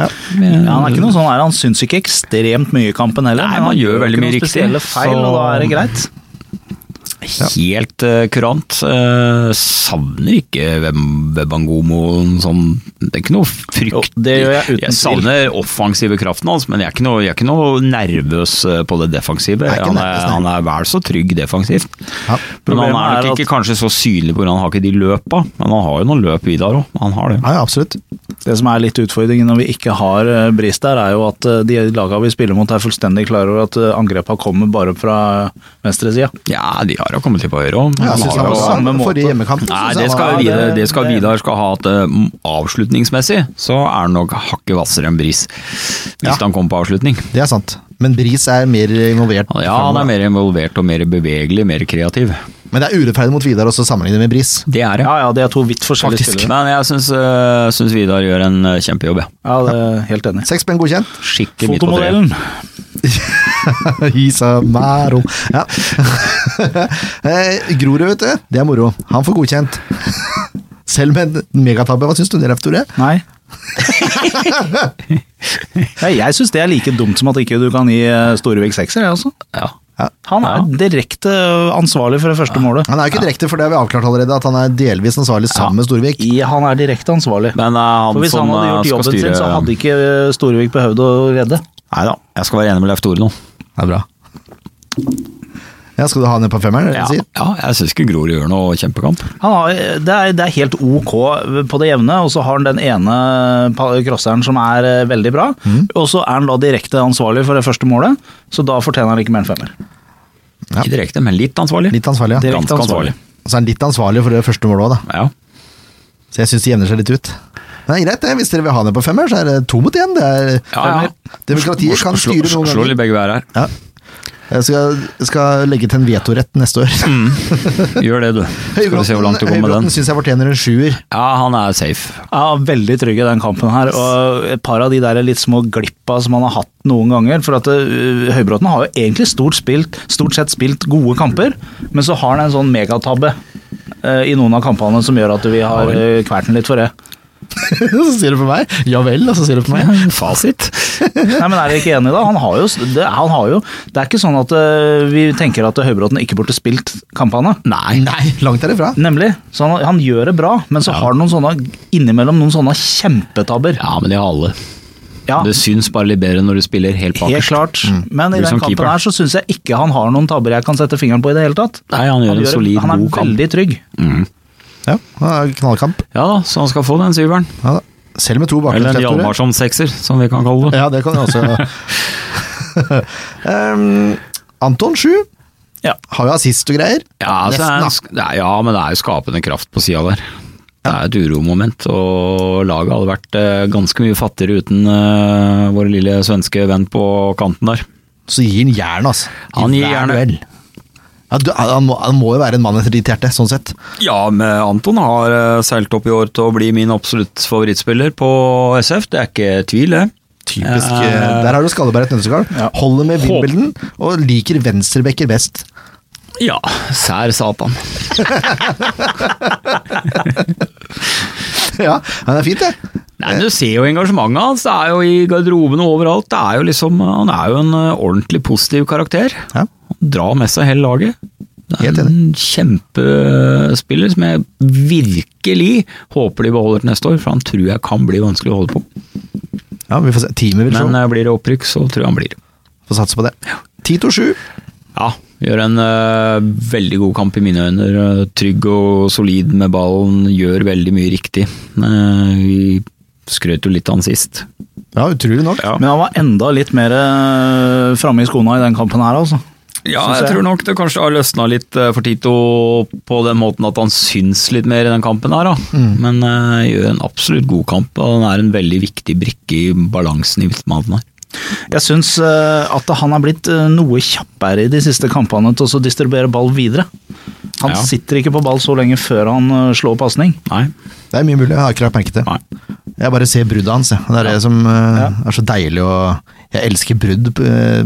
Speaker 3: Ja, han er ikke noe sånn her, han syns ikke ekstremt mye i kampen heller.
Speaker 4: Nei,
Speaker 3: men
Speaker 4: man
Speaker 3: han
Speaker 4: gjør veldig
Speaker 3: ikke
Speaker 4: mye
Speaker 3: noen
Speaker 4: riktig,
Speaker 3: spesielle feil,
Speaker 4: så-
Speaker 3: og da er det greit.
Speaker 4: Helt eh, kurant. Eh, savner ikke Web- Webangomo sånn Det er ikke noe frykt
Speaker 3: Jo, det gjør jeg uten tvil.
Speaker 4: savner offensive kraften hans, men jeg er ikke noe, jeg er ikke noe nervøs eh, på det defensive.
Speaker 1: Jeg er ikke
Speaker 4: Han
Speaker 1: nervøs,
Speaker 4: er,
Speaker 1: nei.
Speaker 4: han er vel så trygg defensivt.
Speaker 1: Ja.
Speaker 4: Men han
Speaker 3: Problemet
Speaker 4: er
Speaker 3: er
Speaker 4: nok
Speaker 3: at-
Speaker 4: ikke kanskje så synlig pga. han har ikke de løpa, men han har jo noen løp videre òg. Han har det.
Speaker 1: Ja, ja, absolutt.
Speaker 3: Det som er litt utfordringen når vi ikke har eh, Bris der, er jo at eh, de lagene vi spiller mot er fullstendig klar over at eh, angrepa kommer bare fra venstresida.
Speaker 4: Ja, de har jo kommet til på høyre òg.
Speaker 1: Ja, jeg
Speaker 4: Han
Speaker 1: synes han
Speaker 4: har jo-
Speaker 1: var
Speaker 3: samme
Speaker 1: samme
Speaker 3: måte.
Speaker 1: forrige hjemmekamp.
Speaker 4: Nei,
Speaker 1: synes
Speaker 4: det
Speaker 1: jeg
Speaker 4: skal,
Speaker 1: var-
Speaker 3: Ja,
Speaker 4: Vidar,
Speaker 3: det-
Speaker 4: det skal
Speaker 3: det-
Speaker 4: Vidar skal ha at eh, avslutningsmessig så er han nok hakket hvassere enn Bris. Hvis
Speaker 1: Ja.
Speaker 4: han kommer på avslutning.
Speaker 1: Det er sant. Men Bris er mer involvert.
Speaker 4: Ja, han er mer involvert og mer bevegelig, mer kreativ.
Speaker 1: Men det er urettferdig mot Vidar også å sammenligne med Bris.
Speaker 4: Det er det.
Speaker 3: Ja ja, det er to vidt forskjellige
Speaker 1: Faktisk.
Speaker 3: spillere.
Speaker 4: Men jeg syns, eh, syns Vidar gjør en eh, kjempejobb, jeg.
Speaker 3: Ja, det er helt enig.
Speaker 1: Seks poeng godkjent. [LAUGHS]
Speaker 4: Skikkelig midt på treet.
Speaker 3: Fotomodellen.
Speaker 1: Isa Maro. Ja. [LAUGHS] Eh, Grorud, vet du. Det er moro. Han får godkjent. [LAUGHS] Selv med en megatabbe. Hva syns du det, Leif Tore?
Speaker 3: [LAUGHS] Nei. [LAUGHS] Nei, jeg syns det er like dumt som at ikke du kan gi eh, Storevik sekser, jeg også.
Speaker 4: Ja.
Speaker 3: Han er direkte eh, ansvarlig for det første målet.
Speaker 1: Han er jo ikke direkte, for det har vi avklart allerede, at han er delvis ansvarlig sammen med Storvik.
Speaker 3: I, han er direkte ansvarlig.
Speaker 4: Men eh,
Speaker 3: For
Speaker 4: han
Speaker 3: hvis
Speaker 4: som
Speaker 3: han hadde
Speaker 4: eh,
Speaker 3: gjort
Speaker 4: skal
Speaker 3: jobben
Speaker 4: styre
Speaker 3: sin, så hadde ikke eh, Storevik behøvd å redde.
Speaker 4: Nei da, jeg skal være enig med Leif Tore nå.
Speaker 1: Det er bra. Ja, skal du ha han ned på femmeren?
Speaker 4: Ja,
Speaker 1: Ja. Sier?
Speaker 4: ja jeg syns ikke Grorud gjør noe kjempekamp.
Speaker 3: Han har, det, er, det er helt ok på det jevne, og så har han den ene pa- crosseren som er eh, veldig bra. Og så er han da direkte ansvarlig for det første målet, så da fortjener han ikke mer enn femmer.
Speaker 1: Ja.
Speaker 4: Ikke direkte, men litt ansvarlig.
Speaker 1: Litt ansvarlig, ja.
Speaker 3: Direkte
Speaker 4: Ganske ansvarlig.
Speaker 3: ansvarlig.
Speaker 1: Så er han litt ansvarlig for det første målet òg, da.
Speaker 4: Ja.
Speaker 1: Så jeg syns det jevner seg litt ut. Men det er greit, det. Hvis dere vil ha han ned på femmeren, så er det to mot én. Det er
Speaker 4: Ja, ja.
Speaker 1: Demokratiet kan
Speaker 4: Slå,
Speaker 1: styre noen
Speaker 4: slå
Speaker 1: ganger.
Speaker 4: litt begge vær her.
Speaker 1: Ja. Jeg skal, skal legge til en vetorett neste år. [LAUGHS]
Speaker 4: Gjør det, du. Mm, Skal vi se hvor langt du kommer med den.
Speaker 1: Høybråten syns jeg fortjener en sjuer. [LAUGHS]
Speaker 4: Ja, han er safe.
Speaker 3: Ja, veldig trygg i den kampen her, og et par av de der litt små glippa som han har hatt noen ganger. For at eh, Høybråten har jo egentlig stort, spilt, stort sett spilt gode kamper, men så har han en sånn megatabbe eh, i noen av kampene som gjør at vi har eh, kvert den litt for det.
Speaker 1: så sier du på meg ja vel, og så sier du på meg.
Speaker 4: Fasit.
Speaker 3: Nei, men Er dere ikke enige, da? Han har jo, det, han har jo, det er ikke sånn at øh, vi tenker at Høybråten ikke burde spilt kampene.
Speaker 4: Nei.
Speaker 1: Nei, langt derifra.
Speaker 3: Nemlig. Så han, han gjør det bra, men så har han noen sånne, innimellom noen sånne kjempetabber.
Speaker 4: Ja, men de har alle.
Speaker 3: Ja,
Speaker 4: Det syns bare litt bedre når du spiller helt
Speaker 3: Helt
Speaker 4: bakerst.
Speaker 3: klart. Men i
Speaker 4: Mm. Blir som
Speaker 3: den kampen
Speaker 4: keeper.
Speaker 3: her så syns jeg ikke han har noen tabber jeg kan sette fingeren på i det hele tatt.
Speaker 4: Nei, han gjør en
Speaker 3: gjør-
Speaker 4: solid,
Speaker 3: han er
Speaker 4: god kamp.
Speaker 3: veldig trygg.
Speaker 1: Ja, han er knallkamp.
Speaker 4: Mm. Ja da, så han skal få den syveren.
Speaker 1: Ja, da. Selv med to
Speaker 4: Eller en
Speaker 1: bakgrunnskrefter.
Speaker 4: Hjalmarsson-sekser, som vi kan kalle det.
Speaker 1: Ja, det kan du også.
Speaker 4: [LAUGHS]
Speaker 1: [LAUGHS] Ehm, Anton sju.
Speaker 3: Ja.
Speaker 1: Har jo assist og greier.
Speaker 4: Ja, så er en,
Speaker 1: Nesten,
Speaker 4: sk- det er- ja men det er jo skapende kraft på sida der. Det er et uromoment, og laget hadde vært eh, ganske mye fattigere uten eh, vår lille svenske venn på kanten der.
Speaker 1: Så gir han jern, altså. I
Speaker 4: Han gir
Speaker 1: hver
Speaker 4: jernet.
Speaker 1: duell. Ja, du, han, må, han må jo være en mann etter ditt hjerte, sånn sett.
Speaker 4: Ja, men Anton har eh, seilt opp i år til å bli min absolutt favorittspiller på SF, det er ikke tvil, det.
Speaker 1: Typisk.
Speaker 4: Ja.
Speaker 1: eh, Der har du Skalleberg et nøttekarl. Holder med vindbilden og liker venstrebekker best. [LAUGHS]
Speaker 4: Ja, sær satan.
Speaker 1: ja, det er fint, det.
Speaker 4: Nei, men Du ser jo engasjementet hans. Det er jo i garderobene og overalt. Det er jo liksom, han er jo en eh, ordentlig positiv karakter.
Speaker 1: Ja.
Speaker 4: Han drar med seg hele laget. Det
Speaker 1: Helt
Speaker 4: er en kjempespiller som jeg virkelig håper de beholder til neste år, for han tror jeg kan bli vanskelig å holde på.
Speaker 1: Ja, vi får se. Teamet vil
Speaker 4: Men
Speaker 1: se.
Speaker 4: eh, blir det opprykk, så tror jeg han blir.
Speaker 1: Får satse på det. 10-2-7.
Speaker 4: Ja, gjør en eh, veldig god kamp i mine øyne. Eh, Trygg og solid med ballen, gjør veldig mye riktig. Eh, vi skrøt jo litt av han sist.
Speaker 1: Ja, utrolig nok.
Speaker 4: Ja.
Speaker 3: Men han var enda litt mer øh, framme i skoene i den kampen her, altså.
Speaker 4: Ja,
Speaker 3: Synes
Speaker 4: jeg
Speaker 3: jeg.
Speaker 4: tror nok det kanskje har løsna litt eh, for Tito på den måten at han syns litt mer i den kampen her, da.
Speaker 1: Mm.
Speaker 4: Men eh, gjør en absolutt god kamp, og han er en veldig viktig brikke i balansen i midtbanen her.
Speaker 3: Jeg syns at han er blitt eh, noe kjappere i de siste kampene til å distribuere ball videre. Han
Speaker 4: Ja.
Speaker 3: sitter ikke på ball så lenge før han eh, slår pasning.
Speaker 4: Nei.
Speaker 1: Det er mye mulig, jeg har ikke lagt merke til.
Speaker 4: Nei.
Speaker 1: Jeg bare ser bruddet hans, jeg. Det er det som eh,
Speaker 3: Ja.
Speaker 1: er så deilig å Jeg elsker brudd på, eh,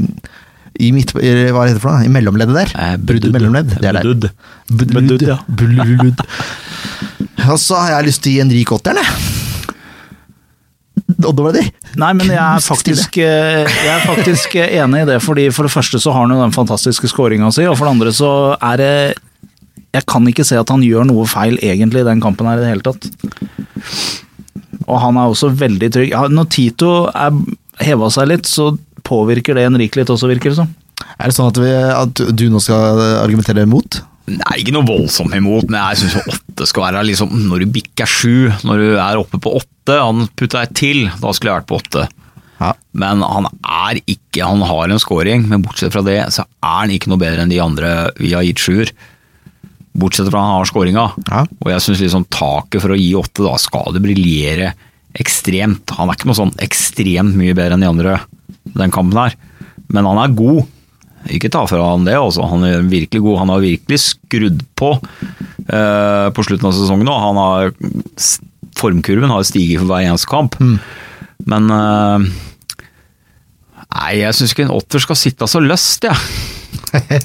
Speaker 1: i midt... i- Hva heter det for noe? I mellomleddet der.
Speaker 4: Eh,
Speaker 1: brudd i
Speaker 4: brudd.
Speaker 1: mellomledd. Det er der.
Speaker 4: Brudd.
Speaker 1: Brudd,
Speaker 3: Brudd, ja.
Speaker 1: [LAUGHS] Brudd. Og så har jeg lyst til å gi en rik åtteren, jeg. og det var det.
Speaker 3: Nei, men jeg er,
Speaker 1: Knust
Speaker 3: faktisk, eh, jeg er faktisk eh, enig i det. fordi For det første så har han jo den fantastiske scoringa si, og for det andre så er det Jeg kan ikke se at han gjør noe feil egentlig i den kampen her i det hele tatt. Og han er også veldig trygg. Ja, Når Tito er heva seg litt, så påvirker det Henrik litt også, virker det som.
Speaker 1: Er det sånn at, vi, at du nå skal argumentere mot?
Speaker 4: Nei, ikke noe voldsomt imot, men jeg syns åtte skal være liksom Når du bikker sju, når du er oppe på åtte Han putta et til, da skulle jeg vært på åtte.
Speaker 1: Ja.
Speaker 4: Men han er ikke Han har en scoring, men bortsett fra det så er han ikke noe bedre enn de andre vi har gitt sjuer. Bortsett fra han har scoringa.
Speaker 1: Ja.
Speaker 4: Og jeg syns liksom taket for å gi åtte, da skal det briljere ekstremt. Han er ikke noe sånn ekstremt mye bedre enn de andre i den kampen her, men han er god. Ikke ta fra han det, altså. Han er virkelig god. Han har virkelig skrudd på eh, på slutten av sesongen nå. Han har Formkurven har stiget for hver eneste kamp. Men eh, Nei, jeg syns ikke en åtter skal sitte så løst, jeg.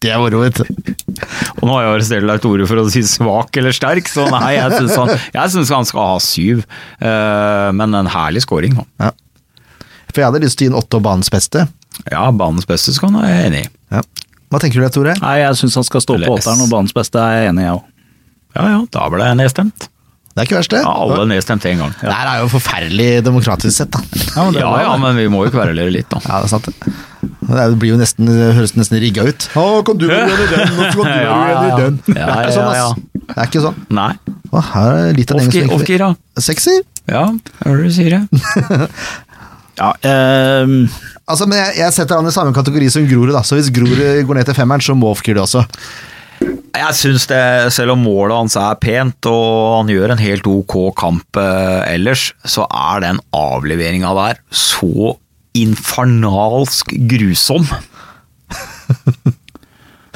Speaker 1: Det er moro, vet du.
Speaker 4: Og nå har jeg arrestert deg et ord for å si svak eller sterk, så nei, jeg syns han, jeg synes han skal ha syv. Eh, men en herlig scoring. nå.
Speaker 1: Ja. For jeg hadde lyst til å gi en åtte og banens beste.
Speaker 4: Ja, banens beste skal han være enig i.
Speaker 1: Ja. Hva tenker du der, Tore?
Speaker 3: Nei, Jeg syns han skal stå
Speaker 4: Eller
Speaker 3: på
Speaker 4: S.
Speaker 3: åtteren, og banens beste er jeg enig i, jeg òg.
Speaker 4: Ja ja, da ble jeg nedstemt.
Speaker 1: Det er ikke verst, det.
Speaker 4: Ja, alle nedstemt én gang.
Speaker 1: Det her er jo forferdelig demokratisk sett, da.
Speaker 3: Ja, men det er
Speaker 4: Ja
Speaker 3: bra,
Speaker 4: ja,
Speaker 3: det.
Speaker 4: men vi må jo kverulere litt, da.
Speaker 1: Ja, det er sant. det. Det er- det blir jo nesten, det høres nesten rigga ut. Å, kan du være enig i den, og så [LAUGHS] kan du
Speaker 4: Ja,
Speaker 1: være enig i
Speaker 4: ja, ja.
Speaker 1: den. Det
Speaker 4: Ja,
Speaker 1: er ikke sånn,
Speaker 4: ja, ja.
Speaker 1: ass. Det er ikke sånn.
Speaker 4: Nei.
Speaker 1: Å, her er litt av den
Speaker 4: Off-gi-
Speaker 1: engelske
Speaker 4: Off-gira.
Speaker 1: Sexy?
Speaker 4: Ja, hører du sier det. [LAUGHS]
Speaker 3: Ja, ehm,
Speaker 1: Altså, men jeg, jeg setter han i samme kategori som Grorud, da. Så hvis Grorud går ned til femmeren, så må Off-gear det også.
Speaker 4: Jeg syns det, selv om målet hans er pent og han gjør en helt ok kamp eh, ellers, så er den avleveringa der så infernalsk grusom. [LAUGHS]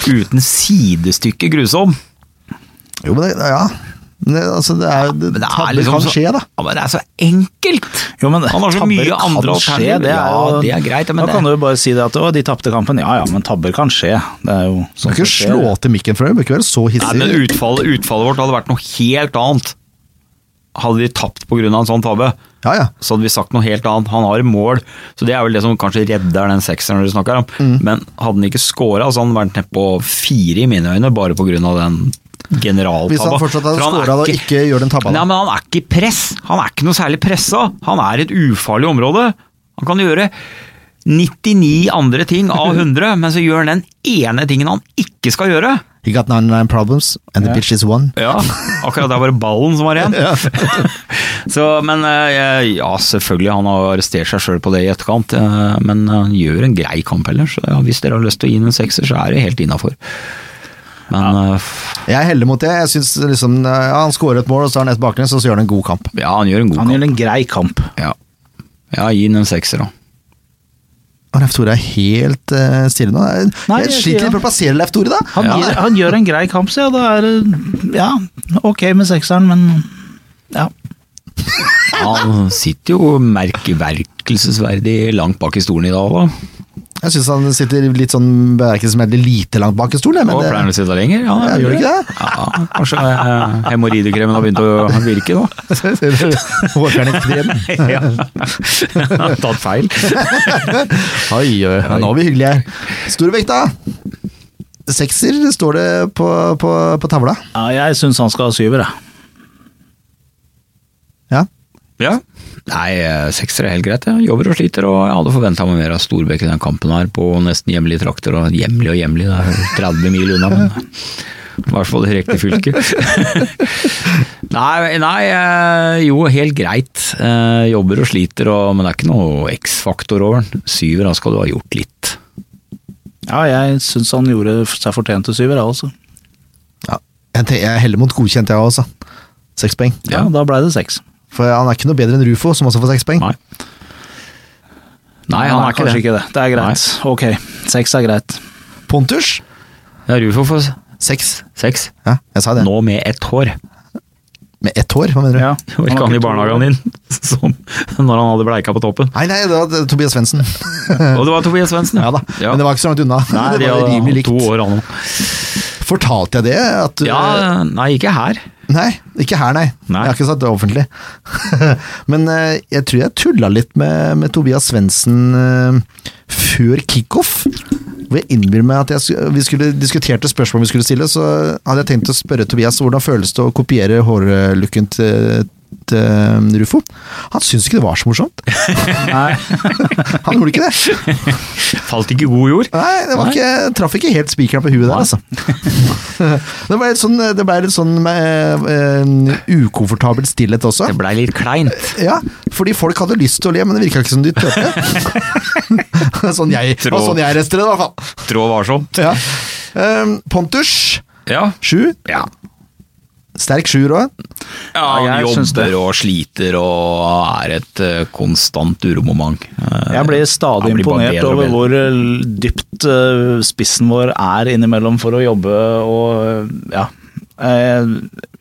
Speaker 4: Uten sidestykke grusom.
Speaker 1: Jo, men det, ja. Men Det, altså, det er, det,
Speaker 4: Men det er
Speaker 1: tabber
Speaker 4: liksom
Speaker 1: kan
Speaker 4: så,
Speaker 1: skje, da.
Speaker 4: Ja, men det er så enkelt!
Speaker 3: Jo, men
Speaker 4: Han har så
Speaker 3: tabber
Speaker 4: mye
Speaker 3: kan skje,
Speaker 4: andre alternativer.
Speaker 3: Det er
Speaker 4: Ja,
Speaker 3: jo,
Speaker 4: det er greit, men
Speaker 3: da
Speaker 4: det-
Speaker 3: kan du jo bare si det at å, de tapte kampen. Ja ja, men tabber kan skje. Det er jo
Speaker 1: Du
Speaker 3: sånn
Speaker 1: kan ikke
Speaker 3: som skjer.
Speaker 1: slå til mikken for det, du kan ikke være så
Speaker 4: Nei,
Speaker 1: hissig.
Speaker 4: men utfallet, utfallet vårt hadde vært noe helt annet. Hadde de tapt pga. en sånn tabbe,
Speaker 1: Ja, ja.
Speaker 4: så hadde vi sagt noe helt annet. Han har mål, så det er vel det som kanskje redder den sekseren dere snakker om.
Speaker 1: Mm.
Speaker 4: Men hadde han ikke scora, så hadde han vært nede på fire i mine øyne, bare pga. den generaltabba.
Speaker 1: Hvis han fortsatt hadde
Speaker 4: For han er
Speaker 1: scora og ikke gjør den tabba,
Speaker 4: Nei,
Speaker 1: da.
Speaker 4: men han er ikke i press. Han er ikke noe særlig pressa. Han er et ufarlig område. Han kan gjøre 99 andre ting av
Speaker 1: [LAUGHS]
Speaker 4: 100, men så gjør han den ene tingen han ikke skal gjøre.
Speaker 1: He got 99 problems, and the bitch is one.
Speaker 4: Ja, akkurat der var det ballen som var igjen. [LAUGHS] Så, men eh, ja, selvfølgelig, han har arrestert seg sjøl på det i etterkant, eh, men han gjør en grei kamp ellers. så Ja, hvis dere har lyst til å gi den en sekser, så er det helt innafor. Men eh, f-
Speaker 1: Jeg heller mot det. Jeg synes liksom, ja, Han skårer et mål, og så har han ett baklengs, og så gjør han en god kamp.
Speaker 4: ja, han gjør en god
Speaker 3: Han
Speaker 4: kamp.
Speaker 3: gjør en grei kamp.
Speaker 4: Ja. ja, gi den en sekser, da.
Speaker 1: Og Leif Tore er helt eh, stille nå. Jeg,
Speaker 3: Nei,
Speaker 1: jeg
Speaker 3: jeg sier
Speaker 1: sliter litt med å plassere Leif Tore, da.
Speaker 3: Han,
Speaker 4: Ja.
Speaker 3: gjør, han gjør en grei kamp, så ja, da er det ja, ok med sekseren, men ja.
Speaker 4: Han sitter jo merkeverkelsesverdig langt bak i stolen i dag, da.
Speaker 1: Jeg syns han sitter litt sånn bemerkelsesmessig lite langt bak i stolen. jeg, Men
Speaker 4: Og pleier han
Speaker 1: det,
Speaker 4: å sitte lenger? Ja,
Speaker 1: Ja, gjør det ikke det?
Speaker 4: Ja, kanskje eh, hemoroidekremen har begynt å virke, da.
Speaker 1: [LAUGHS] Håkeren i krem.
Speaker 4: [LAUGHS] ja. Tatt feil.
Speaker 1: [LAUGHS] Oi, oi, oi. Nå er vi hyggelige her. Storvekt, da. Sekser står det på, på, på tavla.
Speaker 3: ja jeg syns han skal ha syver, jeg.
Speaker 1: Ja.
Speaker 4: Ja. Nei, eh, sekser er helt greit. Jeg jobber og sliter, og jeg hadde forventa meg mer av Storbekk i den kampen her, på nesten hjemlige trakter. Og hjemlig og hjemlig, det er 30 mil unna, men i hvert fall i riktig fylke. [LAUGHS] nei, nei, eh, jo, helt greit. Eh, Jobber og sliter, og, men det er ikke noe X-faktor over den. Syver, da skal du ha gjort litt.
Speaker 3: Ja, jeg syns han gjorde seg fortjent til syver, jeg også.
Speaker 1: ja. Jeg, tenker, jeg heller mot godkjent, jeg også. Seks poeng.
Speaker 3: Ja, da blei det seks.
Speaker 1: For han er ikke noe bedre enn Rufo, som også får seks poeng.
Speaker 4: Nei. Nei, han er ikke
Speaker 3: kanskje
Speaker 4: det.
Speaker 3: ikke det. Det er greit. Ok, seks er greit.
Speaker 1: Pontus,
Speaker 4: Ja, Rufo får
Speaker 1: seks.
Speaker 4: seks.
Speaker 1: Ja, jeg sa det.
Speaker 4: Nå med ett hår.
Speaker 1: Med ett hår, hva mener du?
Speaker 3: Ja.
Speaker 4: [LAUGHS] Og ikke han i barnehagen din, [LAUGHS] som når han hadde bleika på toppen.
Speaker 1: Nei, nei, det var Tobias
Speaker 4: [LAUGHS]
Speaker 1: Svendsen.
Speaker 4: Og det var Tobias Svendsen,
Speaker 1: ja da, men [LAUGHS] det var ikke så langt unna.
Speaker 4: Nei,
Speaker 1: det
Speaker 4: de
Speaker 1: var
Speaker 4: hadde
Speaker 1: rimelig likt.
Speaker 4: to år han også.
Speaker 1: Fortalte jeg det? At,
Speaker 4: Ja, nei, ikke her.
Speaker 1: Nei, ikke her, nei.
Speaker 4: Nei.
Speaker 1: Jeg har ikke sagt det offentlig. [LAUGHS] Men eh, jeg tror jeg tulla litt med, med Tobias Svendsen eh, før kickoff. Hvor jeg innbiller meg at jeg, sk- vi skulle diskuterte spørsmål vi skulle stille, så hadde jeg tenkt å spørre Tobias hvordan føles det å kopiere hårlooken til, til Rufo. Han syntes ikke det var så morsomt. [LAUGHS]
Speaker 3: Nei.
Speaker 1: Han gjorde ikke det.
Speaker 4: Falt ikke i god jord.
Speaker 1: Nei, det var
Speaker 4: Nei.
Speaker 1: ikke, traff ikke helt spikeren på huet der,
Speaker 4: Nei.
Speaker 1: altså. [LAUGHS] det ble litt sånn, det ble litt sånn eh, eh, ukomfortabel stillhet også.
Speaker 4: Det blei litt kleint.
Speaker 1: Ja, fordi folk hadde lyst til å le, men det virka ikke som de
Speaker 4: [LAUGHS]
Speaker 1: turte. sånn jeg, det var sånn jeg rester det, i hvert fall.
Speaker 4: Trå varsomt.
Speaker 1: Ja. Ehm, Pontus,
Speaker 4: Ja.
Speaker 1: sju.
Speaker 4: Ja.
Speaker 1: Sterk sjuer òg.
Speaker 4: Ja,
Speaker 3: Ja,
Speaker 4: han
Speaker 3: jeg syns det.
Speaker 4: jobber og sliter og er et eh, konstant uromoment. Eh,
Speaker 3: Jeg blir stadig
Speaker 4: han blir bare
Speaker 3: imponert
Speaker 4: bedre og
Speaker 3: over
Speaker 4: bedre.
Speaker 3: hvor eh, dypt eh, spissen vår er innimellom for å jobbe og eh, ja. Eh,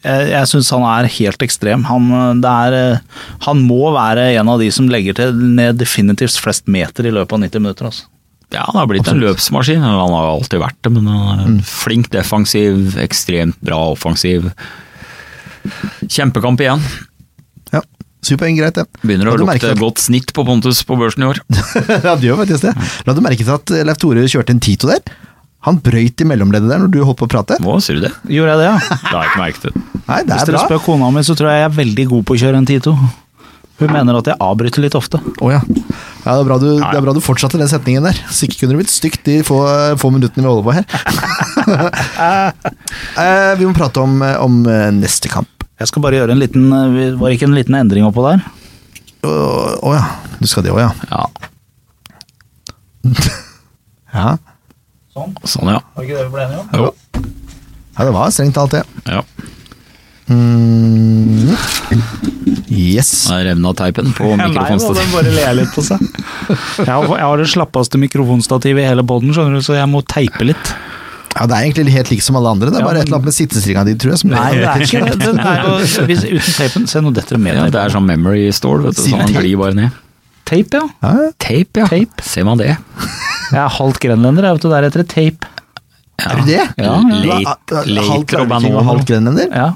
Speaker 3: Jeg, jeg syns han er helt ekstrem. Han, eh, det er, eh, han må være en av de som legger til ned definitivt flest meter i løpet av 90 minutter. Altså.
Speaker 4: Ja, han har blitt en løpsmaskin. eller Han har jo alltid vært det, men han
Speaker 1: Mm.
Speaker 4: er en flink defensiv, ekstremt bra offensiv. Kjempekamp igjen.
Speaker 1: Ja. Syv poeng, greit, det.
Speaker 4: Begynner
Speaker 1: La
Speaker 4: å
Speaker 1: du merke
Speaker 4: lukte
Speaker 1: til-
Speaker 4: godt snitt på Pontus på børsen i år.
Speaker 1: [LAUGHS] ja, det gjør faktisk det. La du merke til at Leif Tore kjørte en Tito der? Han brøyt i mellomleddet der når du holdt på å prate.
Speaker 4: Hva sier du det?
Speaker 3: Gjorde jeg det, ja?
Speaker 4: Det har jeg ikke merket. det.
Speaker 1: Nei, det
Speaker 3: Hvis
Speaker 1: er
Speaker 3: dere
Speaker 1: bra.
Speaker 3: spør kona mi, så tror jeg jeg er veldig god på å kjøre en Tito. Hun mener at jeg avbryter litt ofte.
Speaker 1: Å ja. Ja, det, er bra du, det er bra du fortsatte den setningen der. Så ikke kunne det blitt stygt de få, få minuttene vi holder på her. Eh, vi må prate om, om eh, neste kamp.
Speaker 3: Jeg skal bare gjøre en liten eh, vi- Var det ikke en liten endring oppå der?
Speaker 1: Å å ja, du skal det òg, ja.
Speaker 4: Ja,
Speaker 1: ja.
Speaker 3: Sånn.
Speaker 4: sånn ja.
Speaker 3: Var ikke det vi ble enige om?
Speaker 4: Jo.
Speaker 1: Ja, det var strengt talt det.
Speaker 4: Ja.
Speaker 1: Mm. Yes.
Speaker 4: Der revna teipen på
Speaker 3: [LAUGHS]
Speaker 4: mikrofonstativet.
Speaker 3: bare ler litt på [LAUGHS] seg. Jeg har, jeg har det slappeste mikrofonstativet i hele poden, skjønner du, så jeg må teipe litt.
Speaker 1: Ja, det er egentlig helt like som alle andre. Det er
Speaker 3: Ja,
Speaker 1: bare
Speaker 3: men-
Speaker 1: et eller annet med sittestringa di, tror jeg. Som
Speaker 3: Nei, det er ikke det. Den er jo, [LAUGHS] hvis, uten teipen Se, nå detter det mer
Speaker 4: Ja, det er sånn memory stål, vet du, så han
Speaker 1: Sier
Speaker 4: glir bare ned.
Speaker 3: Tape, ja.
Speaker 1: Ja, ja.
Speaker 4: Tape, ja. Ser man det.
Speaker 3: Jeg er halvt grenlender, jeg, vet du. Der heter det tape.
Speaker 4: Ja.
Speaker 1: Er du det?
Speaker 4: Ja,
Speaker 1: Du er,
Speaker 4: late-
Speaker 1: uh,
Speaker 4: late
Speaker 1: halvt Larviking
Speaker 4: Robin
Speaker 1: og halvt
Speaker 4: Hood.
Speaker 1: grenlender?
Speaker 3: Ja.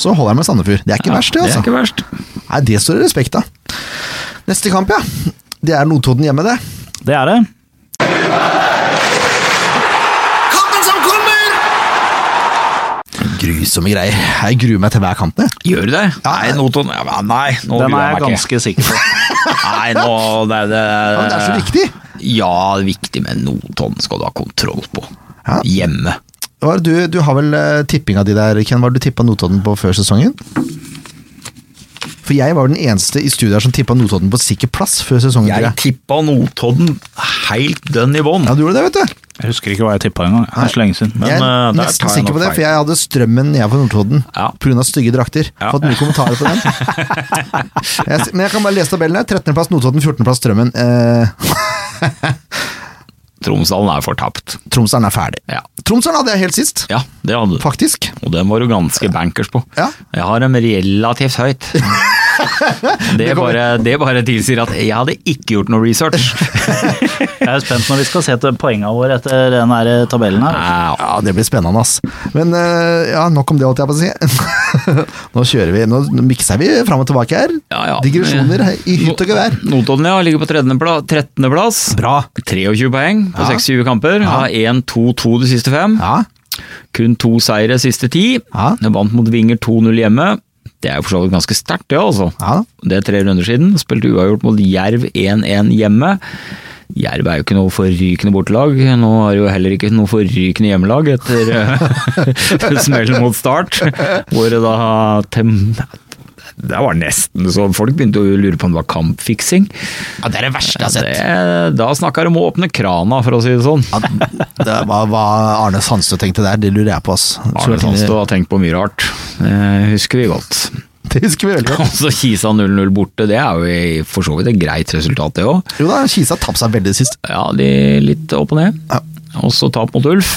Speaker 1: Så holder jeg med Sandefjord. Det er ikke verst, det,
Speaker 4: Det
Speaker 1: altså.
Speaker 4: er ikke verst.
Speaker 1: Nei, det står det respekt av. Neste kamp, ja. Det er Notodden hjemme, det.
Speaker 3: Det er det.
Speaker 1: Grusomme greier. Jeg gruer meg til hver kamp, det.
Speaker 4: Gjør du det?
Speaker 1: Ja.
Speaker 4: Nei, Notodden ja, men Nei, nå
Speaker 3: Den
Speaker 4: gruer
Speaker 3: er jeg
Speaker 4: meg ikke.
Speaker 3: ganske sikker på.
Speaker 4: Nei, nå det, det,
Speaker 1: Ja, men det er så viktig.
Speaker 4: Ja, det er viktig, men Notodden skal du ha kontroll på.
Speaker 1: Ja.
Speaker 4: Hjemme.
Speaker 1: Hva er det Du, du har vel eh, tippinga di der, Ken. Hva har du tippa Notodden på før sesongen? For jeg var den eneste i studiet her som tippa Notodden på sikker plass før sesongen. tror
Speaker 4: Jeg
Speaker 1: Jeg.
Speaker 4: tippa Notodden helt dønn i bånn.
Speaker 1: Ja, du gjorde det, vet du.
Speaker 3: [LAUGHS] Jeg husker ikke hva jeg tippa engang. Det er så lenge siden. Men
Speaker 1: jeg
Speaker 4: eh,
Speaker 1: er
Speaker 4: der tar
Speaker 1: nesten
Speaker 4: jeg
Speaker 1: sikker
Speaker 4: nok
Speaker 1: på det,
Speaker 4: feil.
Speaker 1: for jeg hadde strømmen nede på Notodden
Speaker 4: Ja.
Speaker 1: pga. stygge drakter.
Speaker 4: Ja.
Speaker 1: Fått mye kommentarer på den.
Speaker 4: [LAUGHS]
Speaker 1: jeg, s- men jeg kan bare lese tabellen her. 13.-plass Notodden, 14.-plass Strømmen. Eh,
Speaker 4: Tromsdalen er fortapt.
Speaker 1: Tromsdalen er ferdig.
Speaker 4: Ja.
Speaker 1: Tromsdalen hadde jeg helt sist,
Speaker 4: ja, det hadde du.
Speaker 1: faktisk.
Speaker 4: Og den var du ganske bankers på.
Speaker 1: Ja.
Speaker 4: Jeg har dem relativt
Speaker 1: [LAUGHS]
Speaker 4: høyt. Det bare, det bare tilsier at jeg hadde ikke gjort noe
Speaker 1: [LAUGHS]
Speaker 4: research.
Speaker 3: jeg er spent når vi skal se til poengene våre etter den her tabellen her.
Speaker 4: Au.
Speaker 1: Ja, det blir spennende, ass. Men eh, ja, nok om det, holdt jeg på å si. [LAUGHS] nå kjører vi, nå mikser vi fram og tilbake her.
Speaker 4: Ja, ja.
Speaker 1: Digresjoner i hytt og gevær.
Speaker 4: Notodden ja, ligger på 13. pla- 13. plass.
Speaker 1: Bra.
Speaker 4: 23 poeng på
Speaker 1: Ja.
Speaker 4: 26 kamper. Har 1-2-2 de siste fem.
Speaker 1: Ja,
Speaker 4: Kun to seire siste ti.
Speaker 1: Ja.
Speaker 4: De Vant mot Vinger 2-0 hjemme. Det er jo for så vidt ganske sterkt, det, altså.
Speaker 1: ja.
Speaker 4: Det er tre runder siden. Spilte uavgjort mot Jerv 1-1 hjemme. Jerv er jo ikke noe forrykende bortelag. Nå har jo heller ikke noe forrykende hjemmelag etter eh, [LAUGHS] smellen mot start, hvor det da tem det var nesten så folk begynte å lure på om det var kampfiksing.
Speaker 1: ja det er det verste jeg har sett.
Speaker 4: Det, da snakka de om å åpne krana, for å si det sånn.
Speaker 1: Det var hva Arne Sandstø tenkte der, det lurer jeg på, ass.
Speaker 4: Arne Sandstø har tenkt på mye rart. Det husker vi godt.
Speaker 1: [LAUGHS] Det husker vi veldig godt.
Speaker 4: [LAUGHS] Og så Kisa 0-0 borte, det er jo i- for så vidt et greit resultat, det òg.
Speaker 1: Jo da, Kisa tapte seg veldig sist.
Speaker 4: Ja, de litt opp og ned.
Speaker 1: Ja.
Speaker 4: Og så tap mot Ulf.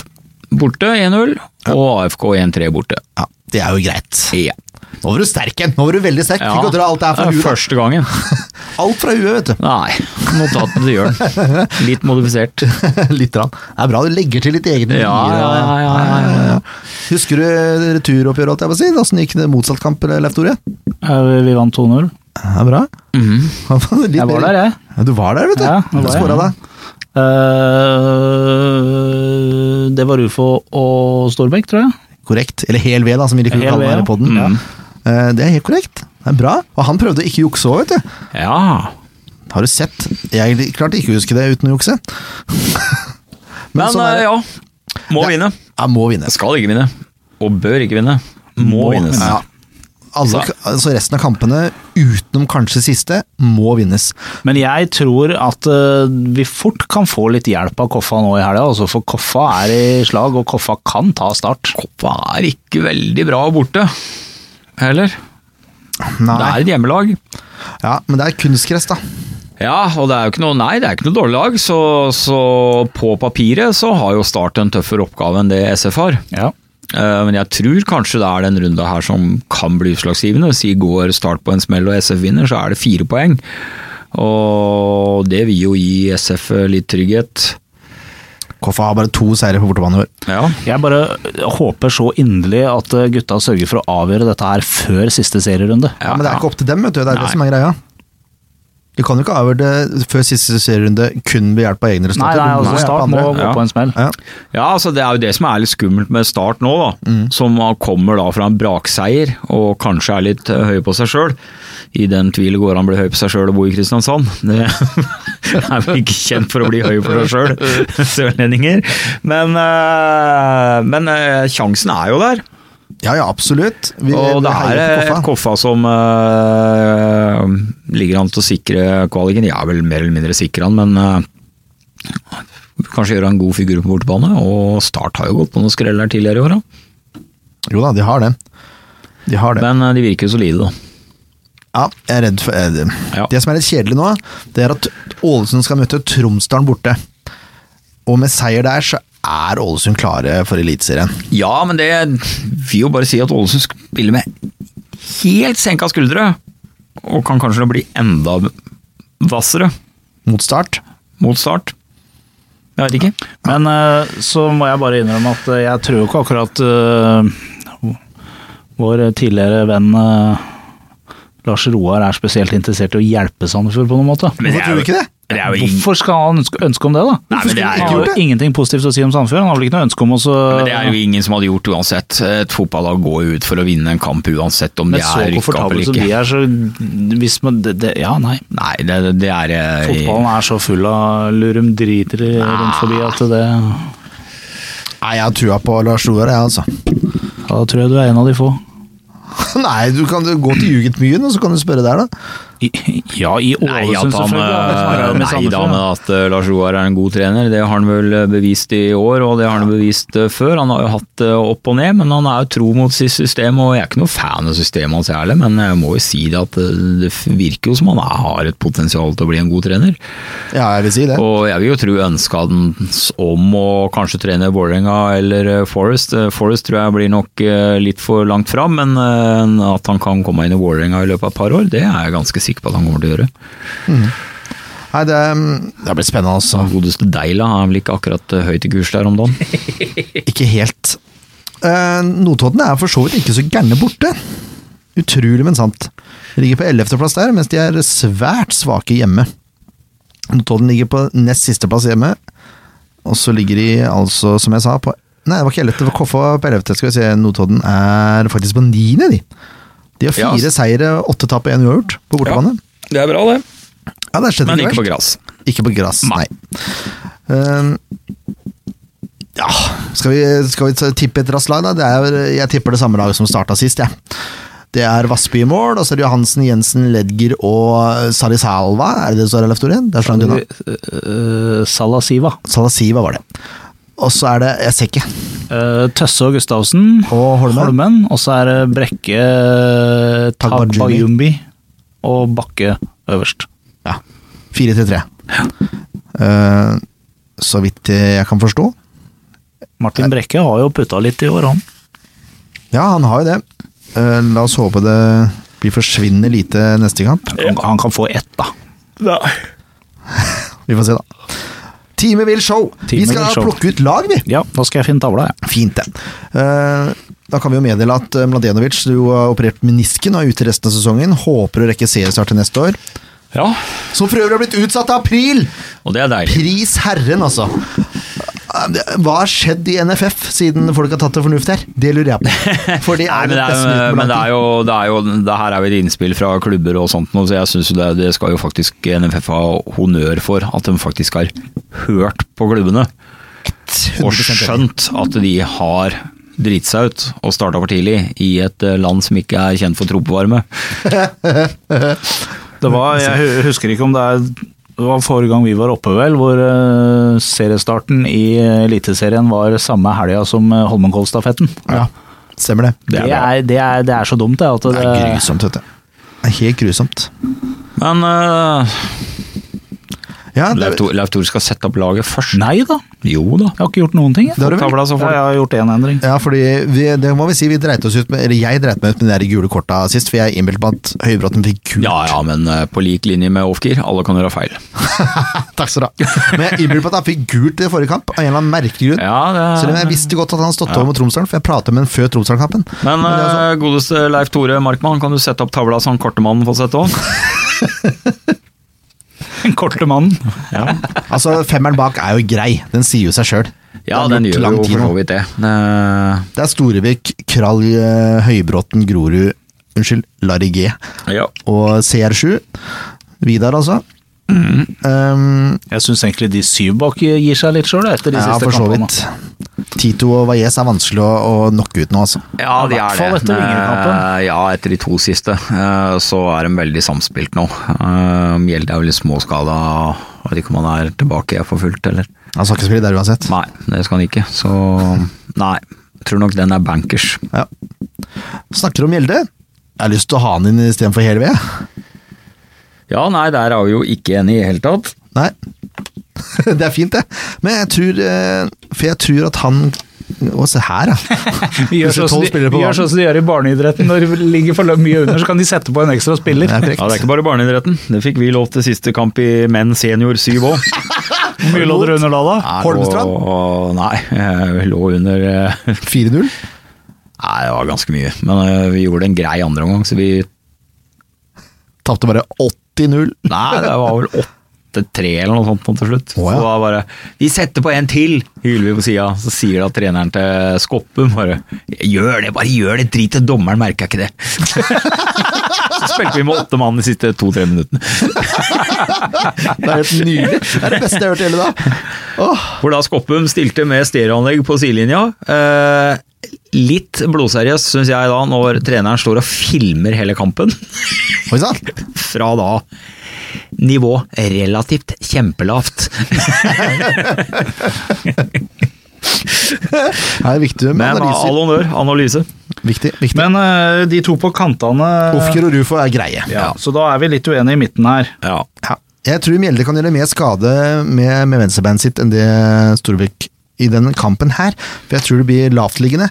Speaker 4: Borte 1-0, og AFK 1-3 borte.
Speaker 1: Ja, det er jo greit.
Speaker 4: Ja.
Speaker 1: Nå var du sterk igjen! Nå var du veldig sterk!
Speaker 4: Ja.
Speaker 1: Fikk jo dra alt det her fra
Speaker 4: Ja,
Speaker 1: huet.
Speaker 4: Første gangen.
Speaker 1: [LAUGHS] Alt fra huet, vet du.
Speaker 4: Nei, notatene til Jørn. Litt modifisert.
Speaker 1: [LAUGHS] Litt rann. Det er bra du legger til litt egne linjer,
Speaker 4: Ja, ja,
Speaker 1: og-
Speaker 4: ja, ja, ja, ja.
Speaker 1: Husker du returoppgjøret, holdt jeg på å si? Åssen gikk det motsatt kamp, eh, Leif Tore?
Speaker 3: Ja, Eh, vi- Vi vant 2-0.
Speaker 1: Det er bra. [LAUGHS] Litt
Speaker 3: Jeg var
Speaker 1: mer-
Speaker 3: der, jeg.
Speaker 1: Ja, du var der, vet du.
Speaker 3: Ja, jeg
Speaker 1: du
Speaker 3: var
Speaker 1: skåra da.
Speaker 3: Eh, det var Rufo og Storbekk, tror jeg.
Speaker 1: Korrekt. Eller hel ved, da, som vi liker å
Speaker 3: Hel
Speaker 1: kalle
Speaker 3: ved,
Speaker 1: det her i
Speaker 3: ja.
Speaker 1: podden.
Speaker 4: Mm.
Speaker 1: Eh, Det er helt korrekt. Det er bra. Og han prøvde å ikke jukse òg, vet du.
Speaker 4: Ja.
Speaker 1: Har du sett? Jeg klarte ikke å huske det uten å jukse. Men,
Speaker 4: Men
Speaker 1: sånn er
Speaker 4: eh,
Speaker 1: det.
Speaker 4: ja, må
Speaker 1: Ja.
Speaker 4: vinne.
Speaker 1: Jeg må vinne.
Speaker 4: Skal ikke vinne. Og bør ikke vinne. Må,
Speaker 3: Må
Speaker 4: vinnes.
Speaker 3: vinne.
Speaker 1: Ja. Alle, altså resten av kampene, utenom kanskje siste, må vinnes.
Speaker 3: Men jeg tror at eh, vi fort kan få litt hjelp av Koffa nå i helga, altså, for Koffa er i slag, og Koffa kan ta start.
Speaker 4: Koppa er ikke veldig bra borte, heller. Det
Speaker 1: Nei.
Speaker 4: er et hjemmelag.
Speaker 1: Ja, men det er kunstgress, da.
Speaker 4: Ja, og det er jo ikke noe, nei, det er ikke noe dårlig lag, så, så på papiret så har jo Start en tøffere oppgave enn det SF har.
Speaker 3: Ja.
Speaker 4: Eh, Men jeg tror kanskje det er den runda her som kan bli utslagsgivende. Si går Start på en smell og SF vinner, så er det fire poeng. Og det vil jo gi SF litt trygghet.
Speaker 1: Koffa har bare to seire på bortebane i år.
Speaker 4: Ja.
Speaker 3: Jeg bare håper så inderlig at eh, gutta sørger for å avgjøre dette her før siste serierunde.
Speaker 1: Ja, men det er ikke opp til dem, vet du. Det er
Speaker 4: Nei.
Speaker 1: det som er greia. De kan jo ikke avgjøre det før siste serierunde kun ved hjelp av egne
Speaker 3: Nei,
Speaker 1: resultater.
Speaker 3: nei,
Speaker 1: Du må
Speaker 3: altså
Speaker 1: hjelpe
Speaker 3: Start må
Speaker 1: andre.
Speaker 3: gå
Speaker 4: Ja.
Speaker 3: på en smell.
Speaker 1: Ja.
Speaker 4: Ja, altså Det er jo det som er litt skummelt med Start nå, da, som kommer da fra en brakseier og kanskje er litt eh, høy på seg sjøl. I den tvil går han å bli høy på seg sjøl og bo i Kristiansand. [LAUGHS] Det er vel ikke kjent for å bli høy på seg sjøl, [LAUGHS] sørlendinger. Men, eh, men eh, sjansen er jo der.
Speaker 1: ja, ja, absolutt. Vi,
Speaker 4: Og det
Speaker 1: vi heier
Speaker 4: her
Speaker 1: på
Speaker 4: er
Speaker 1: Koffa.
Speaker 4: Koffa som eh, ligger an til å sikre kvaliken. Jeg er vel mer eller mindre sikker han, men eh, kanskje gjøre en god figur på bortebane. Og Start har jo gått på noen skrell her tidligere i år, da.
Speaker 1: Jo da, de har det. De har det.
Speaker 4: men eh, de virker jo solide, da.
Speaker 1: Ja, jeg er redd for eh, det.
Speaker 4: Ja.
Speaker 1: det som er litt kjedelig nå, det er at Ålesund skal møte Tromsdalen borte. Og med seier der, så er Ålesund klare for Eliteserien.
Speaker 4: Ja, men det vil jo bare si at Ålesund spiller med helt senka skuldre, og kan kanskje bli enda hvassere
Speaker 1: Mot Start.
Speaker 4: mot Start. Jeg vet ikke.
Speaker 3: Men eh, så må jeg bare innrømme at eh, jeg tror jo ikke akkurat eh, vår tidligere venn eh, Lars Roar er spesielt interessert i å hjelpe Sandefjord på noen måte.
Speaker 4: Men det
Speaker 1: Hvorfor
Speaker 4: er
Speaker 1: tror
Speaker 4: jo-
Speaker 1: du ikke det?
Speaker 4: Det er jo ingen
Speaker 3: Hvorfor skal han ønske, ønske om det, da?
Speaker 4: Nei, men det er
Speaker 3: han har
Speaker 4: jo-
Speaker 3: jo ingenting positivt å si om Sandefjord. Han har vel ikke noe ønske om å så
Speaker 4: Men det er jo ingen som hadde gjort uansett. Eh, Et fotballag går jo ut for å vinne en kamp uansett om
Speaker 3: Men
Speaker 4: de
Speaker 3: så
Speaker 4: er rykka opp
Speaker 3: komfortable
Speaker 4: eller
Speaker 3: som de
Speaker 4: ikke.
Speaker 3: er, så hvis man det, det, Ja, nei.
Speaker 4: Nei, det, det er eh,
Speaker 3: Fotballen er så full av lurumdriter rundt forbi
Speaker 4: Ah.
Speaker 3: at det
Speaker 1: Nei, jeg har trua på Lars Roar, jeg, altså. [LAUGHS]
Speaker 3: Da tror jeg du er en av de få.
Speaker 1: Nei, du kan gå til Jugendmyen, og så kan du spørre der, da.
Speaker 3: I, ja, i
Speaker 4: Nei,
Speaker 3: Ålesund,
Speaker 4: at han,
Speaker 3: selvfølgelig. Han
Speaker 4: eh,
Speaker 3: snakker jo med
Speaker 4: nei da,
Speaker 3: Sandefjord,
Speaker 4: men
Speaker 3: ja.
Speaker 4: at eh, Lars Roar er en god trener, det har han vel eh, bevist i år, og det har han bevist eh, før. Han har jo hatt eh, opp og ned, men han er jo tro mot sitt system, og jeg er ikke noe fan av systemet hans heller, men jeg må jo si det at eh, det virker jo som han er- har et potensial til å bli en god trener.
Speaker 1: Ja, jeg vil si det.
Speaker 4: Og jeg vil jo tro ønska den om å kanskje trene Vålerenga eller eh, Forest. Eh, Forest tror jeg blir nok eh, litt for langt fram, men eh, at han kan komme inn i Vålerenga i løpet av et par år, det er jeg ganske sikker på at han kommer til å gjøre.
Speaker 1: Nei, det, det blir spennende, altså.
Speaker 4: Han godeste Deila er vel ikke akkurat eh, høyt i kurs der om dagen.
Speaker 1: Ikke helt. Eh, Notodden er for så vidt ikke så gærne borte. Utrolig, men sant. De ligger på 11.-plass der, mens de er svært svake hjemme. Notodden ligger på nest siste plass hjemme, og så ligger de altså, som jeg sa, på Nei, det var ikke 11., det var Koffa på 11. Skal vi se, Notodden er faktisk på 9., de. De har
Speaker 4: Ja, altså.
Speaker 1: fire
Speaker 4: ass.
Speaker 1: seire, åtte tap og én uavgjort på bortebane.
Speaker 4: Det er bra, det.
Speaker 1: Ja, det er slett
Speaker 4: Men
Speaker 1: ikke verst.
Speaker 4: ikke på gress.
Speaker 1: Ikke på gress, nei. Ehm, ja, skal vi, skal vi ta- tippe et raskt lag, da? Det er, jeg tipper det samme laget som starta sist, jeg. Det er Vassby i mål, og så er det Johansen, Jensen, Ledger og Sarisalva. Er det det som er Leif Tore? Det er slangen unna.
Speaker 3: Eh, Salasiva.
Speaker 1: Salasiva var det. Og så er det Jeg ser ikke.
Speaker 3: Eh, Tøsse og Gustavsen.
Speaker 1: Og Holmen.
Speaker 3: Og så er det Brekke, eh,
Speaker 1: Tagbayumbi.
Speaker 3: Tagbayumbi og Bakke øverst.
Speaker 1: Ja. 4-3-3. Ehm, så vidt jeg kan forstå.
Speaker 3: Martin Brekke har jo putta litt i år, han.
Speaker 1: Ja, han har jo det. Eh, La oss håpe det blir forsvinnende lite neste kamp.
Speaker 3: Han, han kan få ett, da.
Speaker 1: Vi får se, da. Time vil show!
Speaker 3: Time
Speaker 1: vi skal
Speaker 3: vil show.
Speaker 1: plukke ut lag, vi.
Speaker 3: Ja, da skal jeg finne tavla, jeg.
Speaker 1: Fint, det. Eh, Da kan vi jo meddele at eh, Mladenovic du har operert menisken og er ute resten av sesongen. Håper å rekke seriestart til neste år.
Speaker 4: Ja,
Speaker 1: Som for øvrig har blitt utsatt til april!
Speaker 4: og det er deilig.
Speaker 1: Pris herren, altså. Eh, Hva har skjedd i NFF siden folk har tatt til fornuft her? Det lurer jeg på.
Speaker 4: [LAUGHS]
Speaker 1: For det
Speaker 4: Nei,
Speaker 1: er det
Speaker 4: men det er,
Speaker 1: beste nytt på
Speaker 4: men
Speaker 1: lang
Speaker 4: det er
Speaker 1: tid.
Speaker 4: jo, det er jo det her er jo et innspill fra klubber og sånt, nå, så jeg syns det, det skal jo faktisk NFF ha honnør for. At de faktisk har hørt på klubbene.
Speaker 1: 100%
Speaker 4: Og
Speaker 1: enig.
Speaker 4: skjønt at de har driti seg ut og starta for tidlig i et eh, land som ikke er kjent for tropevarme.
Speaker 3: Det var, jeg hu- husker ikke om det er det var forrige gang vi var oppe, vel, hvor eh, seriestarten i eh, Eliteserien var samme helga som eh, Holmenkollstafetten.
Speaker 1: Ja, stemmer det.
Speaker 3: Det, er- det, er- det er så dumt, det. At
Speaker 1: Det er grusomt, vet du. Det er helt grusomt.
Speaker 4: Men eh,
Speaker 1: Ja, det,
Speaker 4: Leif Tor- Leif Tore skal sette opp laget først.
Speaker 3: Nei da,
Speaker 4: Jo da.
Speaker 3: jeg har ikke gjort noen ting. Jeg,
Speaker 1: Det har du vel?
Speaker 3: Tavla, så får- Ja, jeg har gjort én endring.
Speaker 1: ja fordi vi, det må vi si, vi dreit oss ut med, eller jeg dreit meg ut med de der gule korta sist, for jeg innbilte meg at Høybråten fikk gult.
Speaker 4: Ja ja, men eh, på lik linje med Ofkir, alle kan gjøre feil.
Speaker 1: [LAUGHS] Takk skal du ha. Men jeg innbilte meg at han fikk gult i forrige kamp, av en eller annen merkelig grunn.
Speaker 4: Ja, det
Speaker 1: Selv om jeg visste godt at han stått over mot Tromsdalen, for jeg pratet med ham før Tromsdalen-kampen.
Speaker 4: Men
Speaker 1: det er
Speaker 4: eh, godeste Leif Tore Markmann, kan du sette opp tavla så han kortemannen får sette opp?
Speaker 3: [LAUGHS] Den korte mannen.
Speaker 4: [LAUGHS] Ja,
Speaker 1: Altså, femmeren bak er jo grei. Den sier jo seg sjøl.
Speaker 4: den gjør jo for så vidt det. Eh,
Speaker 1: Det er Storevik, Krall, eh, Høybråten, Grorud Unnskyld, Larry G
Speaker 4: ja.
Speaker 1: og CR7. Vidar, altså.
Speaker 4: Mhm.
Speaker 1: Um,
Speaker 3: Jeg syns egentlig de syv bak gir seg litt sjøl, etter de
Speaker 1: ja,
Speaker 3: siste
Speaker 1: for så
Speaker 3: kampene.
Speaker 1: vidt. Tito og Valles er vanskelig å, å knocke ut nå, altså.
Speaker 4: ja,
Speaker 3: I
Speaker 4: de
Speaker 3: hvert
Speaker 4: er
Speaker 3: fall
Speaker 4: det.
Speaker 3: etter Vingerkampen.
Speaker 4: Eh, ja, etter de to siste, eh, så er de veldig samspilt nå. Eh, Mjelde er vel litt småskada, jeg vet ikke om han er tilbake for fullt, eller?
Speaker 1: Han skal ikke spille der uansett.
Speaker 4: Nei, det skal han ikke, så nei. Jeg tror nok den er bankers.
Speaker 1: Ja. Snakker om Gjelde. Jeg har lyst til å ha han inn istedenfor Helve. jeg.
Speaker 4: Ja, nei, der er vi jo ikke enige i det hele tatt.
Speaker 1: Nei. [LAUGHS] Det er fint, det. Men jeg tror eh, For jeg tror at han Å, se her, ja.
Speaker 3: [LAUGHS] Vi
Speaker 1: Plutselig
Speaker 3: gjør sånn som
Speaker 1: tolv
Speaker 3: de-
Speaker 1: spillere på
Speaker 3: vi gjør
Speaker 1: banen.
Speaker 3: sånn som de gjør i barneidretten. Når det ligger for mye under, så kan de sette på en ekstra spiller.
Speaker 1: Det er korrekt.
Speaker 4: Ja, Det er ikke bare barneidretten. Det fikk vi lov til siste kamp i menn senior syv òg.
Speaker 3: Hvor mye lå dere under da, da?
Speaker 1: Holmestrand?
Speaker 4: Lå, nei, [LAUGHS] jeg lå under eh,
Speaker 1: 4-0.
Speaker 4: Nei, det var ganske mye. Men eh, vi gjorde en grei andreomgang, så vi
Speaker 1: Tapte bare
Speaker 3: [LAUGHS]
Speaker 1: 80-0.
Speaker 4: Nei, det var vel 8-3 eller noe sånt nå til slutt.
Speaker 1: Å, ja.
Speaker 4: Så da bare Vi setter på en til, hyler vi på sida. Så sier da treneren til Skoppen bare Gjør det, bare gjør det! Drit i dommeren, merka ikke det. [LAUGHS] så spilte vi med åtte mann de siste to-tre minuttene.
Speaker 1: Det er helt nydelig. Det er det beste jeg har hørt i hele dag. Åh,
Speaker 4: Hvor da Skoppum stilte med stereoanlegg på sidelinja. Eh, litt blodseriøst, syns jeg da, når treneren står og filmer hele kampen.
Speaker 1: Oi sann.
Speaker 4: Fra da nivå relativt kjempelavt.
Speaker 1: Det er viktig med
Speaker 4: Men all
Speaker 1: analyser.
Speaker 4: honnør, analyse.
Speaker 1: Viktig, viktig.
Speaker 3: Men eh, de to på kantene
Speaker 1: Ofker og Rufo er greie.
Speaker 3: ja, Så da er vi litt uenige i midten her.
Speaker 4: Ja.
Speaker 1: Ja. Jeg tror Mjelde kan gjøre mer skade med, med venstrebeinet sitt enn det Storvik i denne kampen her. For jeg tror det blir lavtliggende.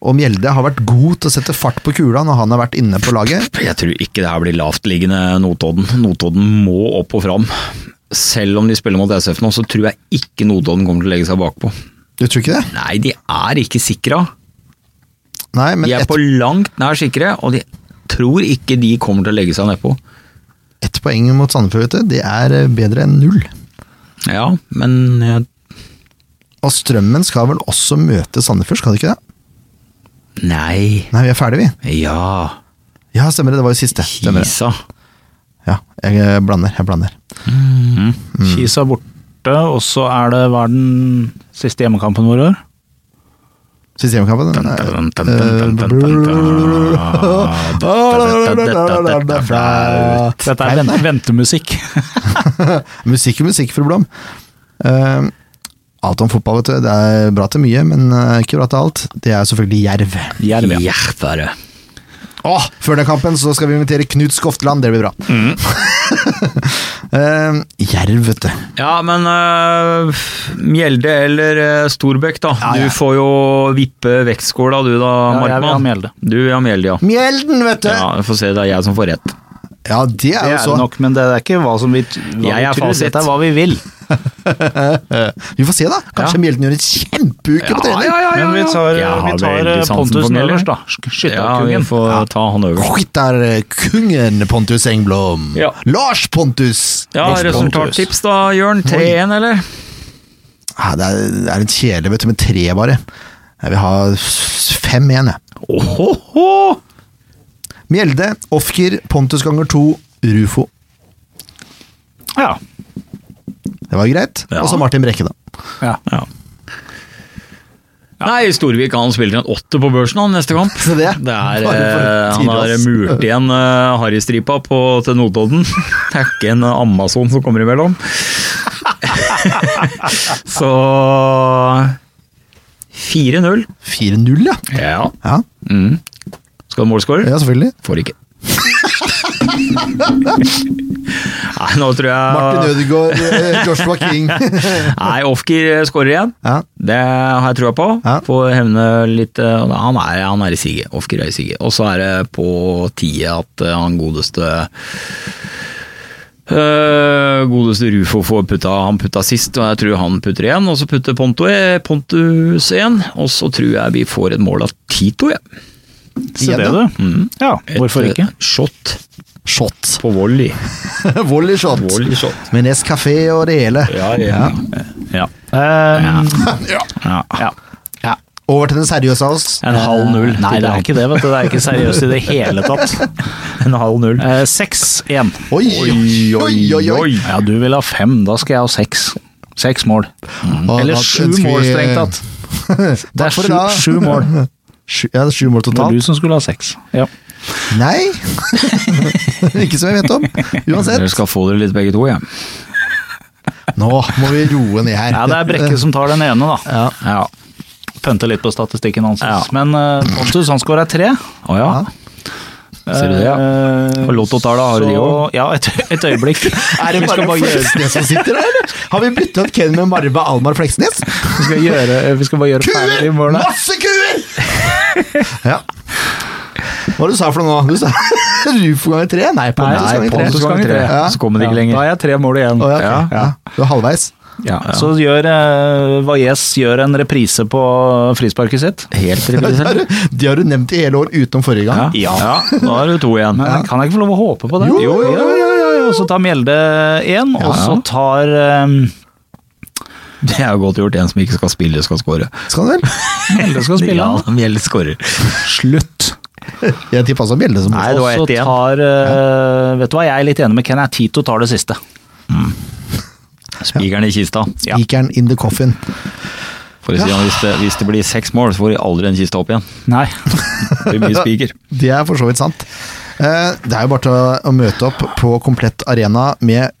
Speaker 1: Og Mjelde har vært god til å sette fart på kula når han har vært inne på laget.
Speaker 4: Jeg tror ikke det her blir lavtliggende Notodden. Notodden må opp og fram. Selv om de spiller mot SF nå, så tror jeg ikke Notodden kommer til å legge seg bakpå.
Speaker 1: Du tror ikke det?
Speaker 4: Nei, de er ikke sikra.
Speaker 1: Nei, men
Speaker 4: De er
Speaker 1: ett
Speaker 4: på langt nær sikre, og de tror ikke de kommer til å legge seg nedpå.
Speaker 1: ett poeng mot Sandefjord, vet du, det er eh, bedre enn null.
Speaker 4: Ja, men eh, jeg-
Speaker 1: Og Strømmen skal vel også møte Sandefjord, skal de ikke det?
Speaker 4: Nei.
Speaker 1: Nei, vi er ferdige, vi.
Speaker 4: Ja.
Speaker 1: Ja, stemmer det. Det var jo siste. Stemmer det.
Speaker 4: Kisa.
Speaker 1: Ja, jeg eh, blander. Jeg blander. Mm.
Speaker 3: Kisa borte, og så er det hva er den siste hjemmekampen vår i år?
Speaker 1: Siste hjemmekampen? den er- Flaut.
Speaker 3: Dette er vent ventemusikk.
Speaker 1: [LAUGHS] Musikk er musikk, fru Blom. Eh, alt om fotball, vet du. Det er bra til mye, men eh, ikke bra til alt. Det er selvfølgelig Jerv.
Speaker 4: Jerv, ja. Jerv er det.
Speaker 1: Åh, før den kampen så skal vi invitere Knut Skofteland, det blir bra.
Speaker 4: Mm.
Speaker 1: [LAUGHS] Eh, Jerv, vet du.
Speaker 4: Ja, men øh, Mjelde eller øh, Storbekk, da.
Speaker 1: Ja, ja.
Speaker 4: Du får jo vippe vektskåla du da,
Speaker 3: Ja, jeg vil ha
Speaker 4: Markmann.
Speaker 3: Mjelde.
Speaker 4: Du vil ha Mjelde, ja.
Speaker 1: Mjelden, vet du!
Speaker 4: ja.
Speaker 1: Ja,
Speaker 4: Vi får se, det er jeg som får rett.
Speaker 1: det
Speaker 3: Det
Speaker 1: er jo
Speaker 3: er
Speaker 1: så.
Speaker 3: det nok, men det er ikke hva som vi, hva
Speaker 4: Jeg er
Speaker 3: vi tror.
Speaker 4: fasit.
Speaker 3: Dette er hva vi vil.
Speaker 1: Eh, Vi får se, da. Kanskje
Speaker 4: Ja.
Speaker 1: Mjelden gjør en kjempeuke på trening.
Speaker 3: Men vi tar,
Speaker 4: Jeg har
Speaker 3: vi tar
Speaker 4: veldig
Speaker 3: eh,
Speaker 4: sansen
Speaker 3: Pontus
Speaker 4: for Mjelde.
Speaker 3: Møllers, da. Sk-
Speaker 4: Ja, vi
Speaker 3: Skytterkongen.
Speaker 4: får ta han øverst.
Speaker 1: Rytterkongen eh, Pontus Engblom.
Speaker 4: Ja.
Speaker 1: Lars Pontus!
Speaker 4: Ja,
Speaker 1: Lars Pontus.
Speaker 4: resultattips da, Jørn. 3-1, eller?
Speaker 1: Ja, det, er, det er litt kjedelig, vet du, med tre, bare. Jeg vil ha s- fem igjen, jeg.
Speaker 4: Ohoho!
Speaker 1: Mjelde, Ofker, Pontus ganger to, Rufo.
Speaker 3: Ja.
Speaker 1: Det var greit.
Speaker 4: Ja.
Speaker 1: Og så Martin Brekke, da.
Speaker 3: ja.
Speaker 4: Ja. Nei, Storvik han spiller en åtte på børsen han neste kamp.
Speaker 1: Se det.
Speaker 4: Det er,
Speaker 1: Bare for
Speaker 4: eh, han
Speaker 1: tidlig,
Speaker 4: har
Speaker 1: ass.
Speaker 4: murt igjen eh, harrystripa på- til Notodden. [LAUGHS] Det er ikke en Amazon som kommer imellom. [LAUGHS] Så 4-0.
Speaker 1: 4-0, ja.
Speaker 4: Ja.
Speaker 1: ja.
Speaker 4: Mm. Skal du målskårer?
Speaker 1: Ja, selvfølgelig.
Speaker 4: Får ikke. [LAUGHS] Nei, nå tror
Speaker 1: Martin
Speaker 3: [LAUGHS]
Speaker 4: jeg
Speaker 1: Ødegaard, eh, Joshua King.
Speaker 4: Nei, Ofker eh, skårer igjen.
Speaker 1: ja.
Speaker 4: Det har jeg trua på.
Speaker 1: Ja.
Speaker 4: Får hevne litt eh, Han er, han er i siget. Ofker er i siget. Og så er det på tide at eh, han godeste eh, godeste Rufo får putta Han putta sist, og jeg tror han putter igjen. Og så putter Ponto, Pontus igjen. Og så tror jeg vi får et mål av Tito, jeg.
Speaker 3: Se
Speaker 1: Igjen,
Speaker 3: det,
Speaker 1: ja.
Speaker 3: du. Ja,
Speaker 4: Et,
Speaker 3: hvorfor
Speaker 4: eh,
Speaker 3: ikke?
Speaker 4: Shot
Speaker 1: Shot. [LAUGHS]
Speaker 4: på volley.
Speaker 1: Volley shot.
Speaker 4: Volley shot.
Speaker 1: Med Nes kafé og det hele.
Speaker 4: Ja, ja. eh, ja.
Speaker 3: Um,
Speaker 4: ja.
Speaker 3: ja. ja. Eh,
Speaker 1: Over til den seriøse av oss.
Speaker 4: En halv null.
Speaker 3: Nei, det er ikke det. vet du. Det er ikke seriøst i det hele tatt.
Speaker 4: [LAUGHS] En halv null.
Speaker 3: Eh, Seks, én.
Speaker 1: Oi, oi, oi, oi.
Speaker 3: Ja, du vil ha fem. Da skal jeg ha seks. Seks mål.
Speaker 1: Og da
Speaker 3: Eller sju
Speaker 1: ønsker vi-
Speaker 3: mål, strengt tatt. Det
Speaker 1: Takk
Speaker 3: er
Speaker 1: for i
Speaker 3: sju,
Speaker 1: dag.
Speaker 3: sju
Speaker 4: [LAUGHS]
Speaker 3: mål.
Speaker 1: [LAUGHS] Sju, ja, det er sju mål
Speaker 3: Det var
Speaker 1: totalt.
Speaker 3: du som skulle ha seks. Ja.
Speaker 1: Nei! [LAUGHS] ikke som jeg vet
Speaker 3: [LAUGHS]
Speaker 1: om. Uansett.
Speaker 4: Dere skal få dere litt begge to, jeg. Ja.
Speaker 1: Nå må vi roe ned her.
Speaker 3: ja, det er Brekke som tar den ene, da.
Speaker 1: Ja.
Speaker 3: Ja. Pønte litt på statistikken hans.
Speaker 4: Ja.
Speaker 3: Men eh, Pontus, han skåra tre.
Speaker 4: Å ja.
Speaker 1: Ja.
Speaker 4: Ser du det, ja.
Speaker 3: Eh,
Speaker 4: Og Lotto-tallet har de
Speaker 3: så-
Speaker 4: også.
Speaker 3: Ja, et, et øyeblikk.
Speaker 1: Er det
Speaker 3: Vi
Speaker 1: bare
Speaker 3: skal bare gjøre
Speaker 1: Fleksnes som sitter der, eller? Har vi bytta ut Ken med Marve Almar Fleksnes?
Speaker 3: Vi skal, gjøre, vi skal bare gjøre ferdig i morgen.
Speaker 1: Masse kuer! [LAUGHS] ja. Hva var det du sa for noe nå? Du sa [LAUGHS] Rufo ganger tre? Nei, Pontus
Speaker 3: Nei,
Speaker 1: ganger tre.
Speaker 3: Pontus ganger tre.
Speaker 1: Ja.
Speaker 4: Så kommer det
Speaker 3: Ja,
Speaker 4: ikke
Speaker 3: Da
Speaker 4: lenger.
Speaker 3: har jeg tre mål igjen.
Speaker 1: Å, ja, ok.
Speaker 4: Ja,
Speaker 1: ja. Du er halvveis.
Speaker 4: Ja, ja.
Speaker 3: Så gjør uh, Valles gjør en reprise på frisparket sitt.
Speaker 4: Helt
Speaker 1: Det har
Speaker 4: reprisert.
Speaker 1: du- De har du nevnt i hele år utenom forrige gang.
Speaker 4: Ja. ja, da er det to igjen.
Speaker 3: Men kan jeg ikke få lov å håpe på det?
Speaker 1: Jo, jo, jo,
Speaker 3: ja,
Speaker 1: jo,
Speaker 3: ja, ja. Og så tar Mjelde én, og så tar ehm,
Speaker 4: Det er jo godt gjort. En som ikke skal spille, skal skåre.
Speaker 1: Skal han vel?
Speaker 3: Mjelde skal spille.
Speaker 4: Ja, Mjelde skårer.
Speaker 3: Slutt.
Speaker 1: [LAUGHS] Jeg tippa som Mjelde som
Speaker 4: Nei, det
Speaker 3: Og
Speaker 4: var
Speaker 3: så
Speaker 4: ett igjen.
Speaker 3: tar eh, Vet du hva, jeg er litt enig med Ken. Jeg Tito tar det siste.
Speaker 4: Spikeren i kista.
Speaker 3: Ja.
Speaker 1: Spikeren in the coffin.
Speaker 4: For å si han, hvis, det, hvis det blir seks mål, så får de aldri en kiste opp igjen.
Speaker 3: Nei.
Speaker 4: Det blir mye spiker.
Speaker 1: [LAUGHS] Det er for så vidt sant. Eh, Det er jo bare til å- å møte opp på komplett arena med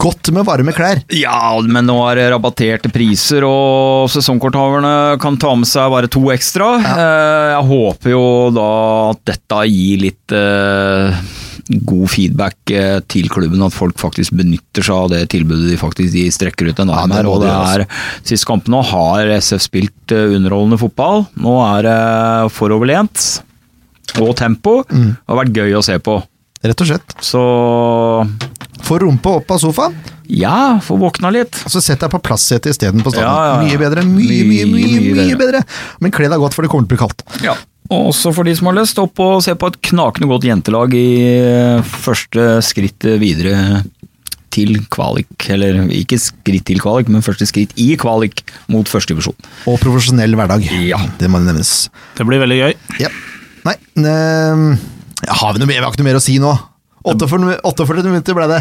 Speaker 1: godt med varme klær.
Speaker 4: Ja, men nå er det rabatterte priser, og sesongkorthaverne kan ta med seg bare to ekstra. Eh, Jeg håper jo da at dette gir litt eh, god feedback eh, til klubben, at folk faktisk benytter seg av det tilbudet de faktisk de strekker ut en
Speaker 1: Ja,
Speaker 4: arm
Speaker 1: det
Speaker 4: her.
Speaker 1: må
Speaker 4: Og
Speaker 1: de
Speaker 4: det
Speaker 1: gjøre,
Speaker 4: er sist kamp nå har SF spilt eh, underholdende fotball. Nå er det foroverlent og tempo.
Speaker 1: Mm.
Speaker 4: Det har vært gøy å se på.
Speaker 1: Rett og slett.
Speaker 4: Så
Speaker 1: Få rumpa opp av sofaen,
Speaker 4: ja, får våkna litt.
Speaker 1: og så sett deg på plasssetet isteden på stadion.
Speaker 4: Ja, ja, ja.
Speaker 1: Mye bedre. Mye, mye, mye,
Speaker 4: Mye,
Speaker 1: mye,
Speaker 4: mye
Speaker 1: bedre. Men kle deg godt, for det kommer til å bli kaldt.
Speaker 4: Ja. Og også for de som har lyst, opp og se på et knakende godt jentelag i eh, første skritt videre til kvalik. Eller ikke skritt til kvalik, men første skritt i kvalik mot første divisjon.
Speaker 1: Og profesjonell hverdag.
Speaker 4: Ja.
Speaker 1: Det må nevnes.
Speaker 3: [LAUGHS] Det blir veldig gøy.
Speaker 1: Ja. Nei, ehm, har vi noe mer? Vi har ikke noe mer å si nå. 48 48 minutter ble det.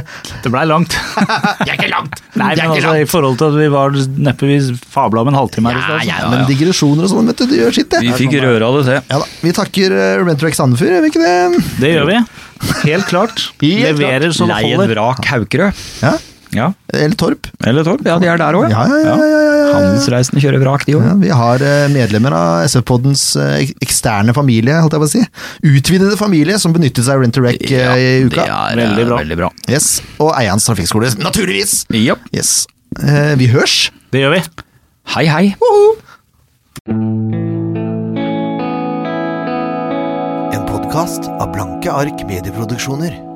Speaker 3: Det blei
Speaker 1: [LAUGHS]
Speaker 3: langt.
Speaker 1: Det er ikke langt! det
Speaker 3: [LAUGHS] Nei, men
Speaker 1: er ikke
Speaker 3: altså, I
Speaker 1: langt.
Speaker 3: forhold til at vi var neppe vi fabla om en halvtime her i
Speaker 1: Ja,
Speaker 3: sted.
Speaker 1: ja, men digresjoner og sånn, vet du. Det gjør sitt, det.
Speaker 4: Vi fikk røre av det, se.
Speaker 1: Ja da. Vi takker eh, Urban Truck Sandefjord, gjør vi ikke det?
Speaker 3: Det gjør vi.
Speaker 1: Helt
Speaker 3: Helt klart.
Speaker 1: klart.
Speaker 3: Leverer så det
Speaker 4: Lei et
Speaker 3: holder.
Speaker 4: vrak Haukerød.
Speaker 1: Ja?
Speaker 3: Ja,
Speaker 1: Eller Torp.
Speaker 4: Eller Torp. Ja, de er der òg,
Speaker 1: Ja, ja, ja, ja, ja, ja.
Speaker 4: Handelsreisen kjører vrak, de òg.
Speaker 1: Ja, vi har eh, medlemmer av SF-poddens eh, eksterne familie, holdt jeg på å si. Utvidede familie som benyttet seg av Rent to Rec eh, i uka.
Speaker 4: det er
Speaker 3: Veldig bra.
Speaker 4: veldig bra.
Speaker 1: Yes, Og Eians trafikkskole, naturligvis!
Speaker 4: Japp.
Speaker 1: Yes. Eh, vi hørs!
Speaker 3: det gjør vi.
Speaker 4: Hei, hei.
Speaker 5: En podkast av Blanke ark medieproduksjoner.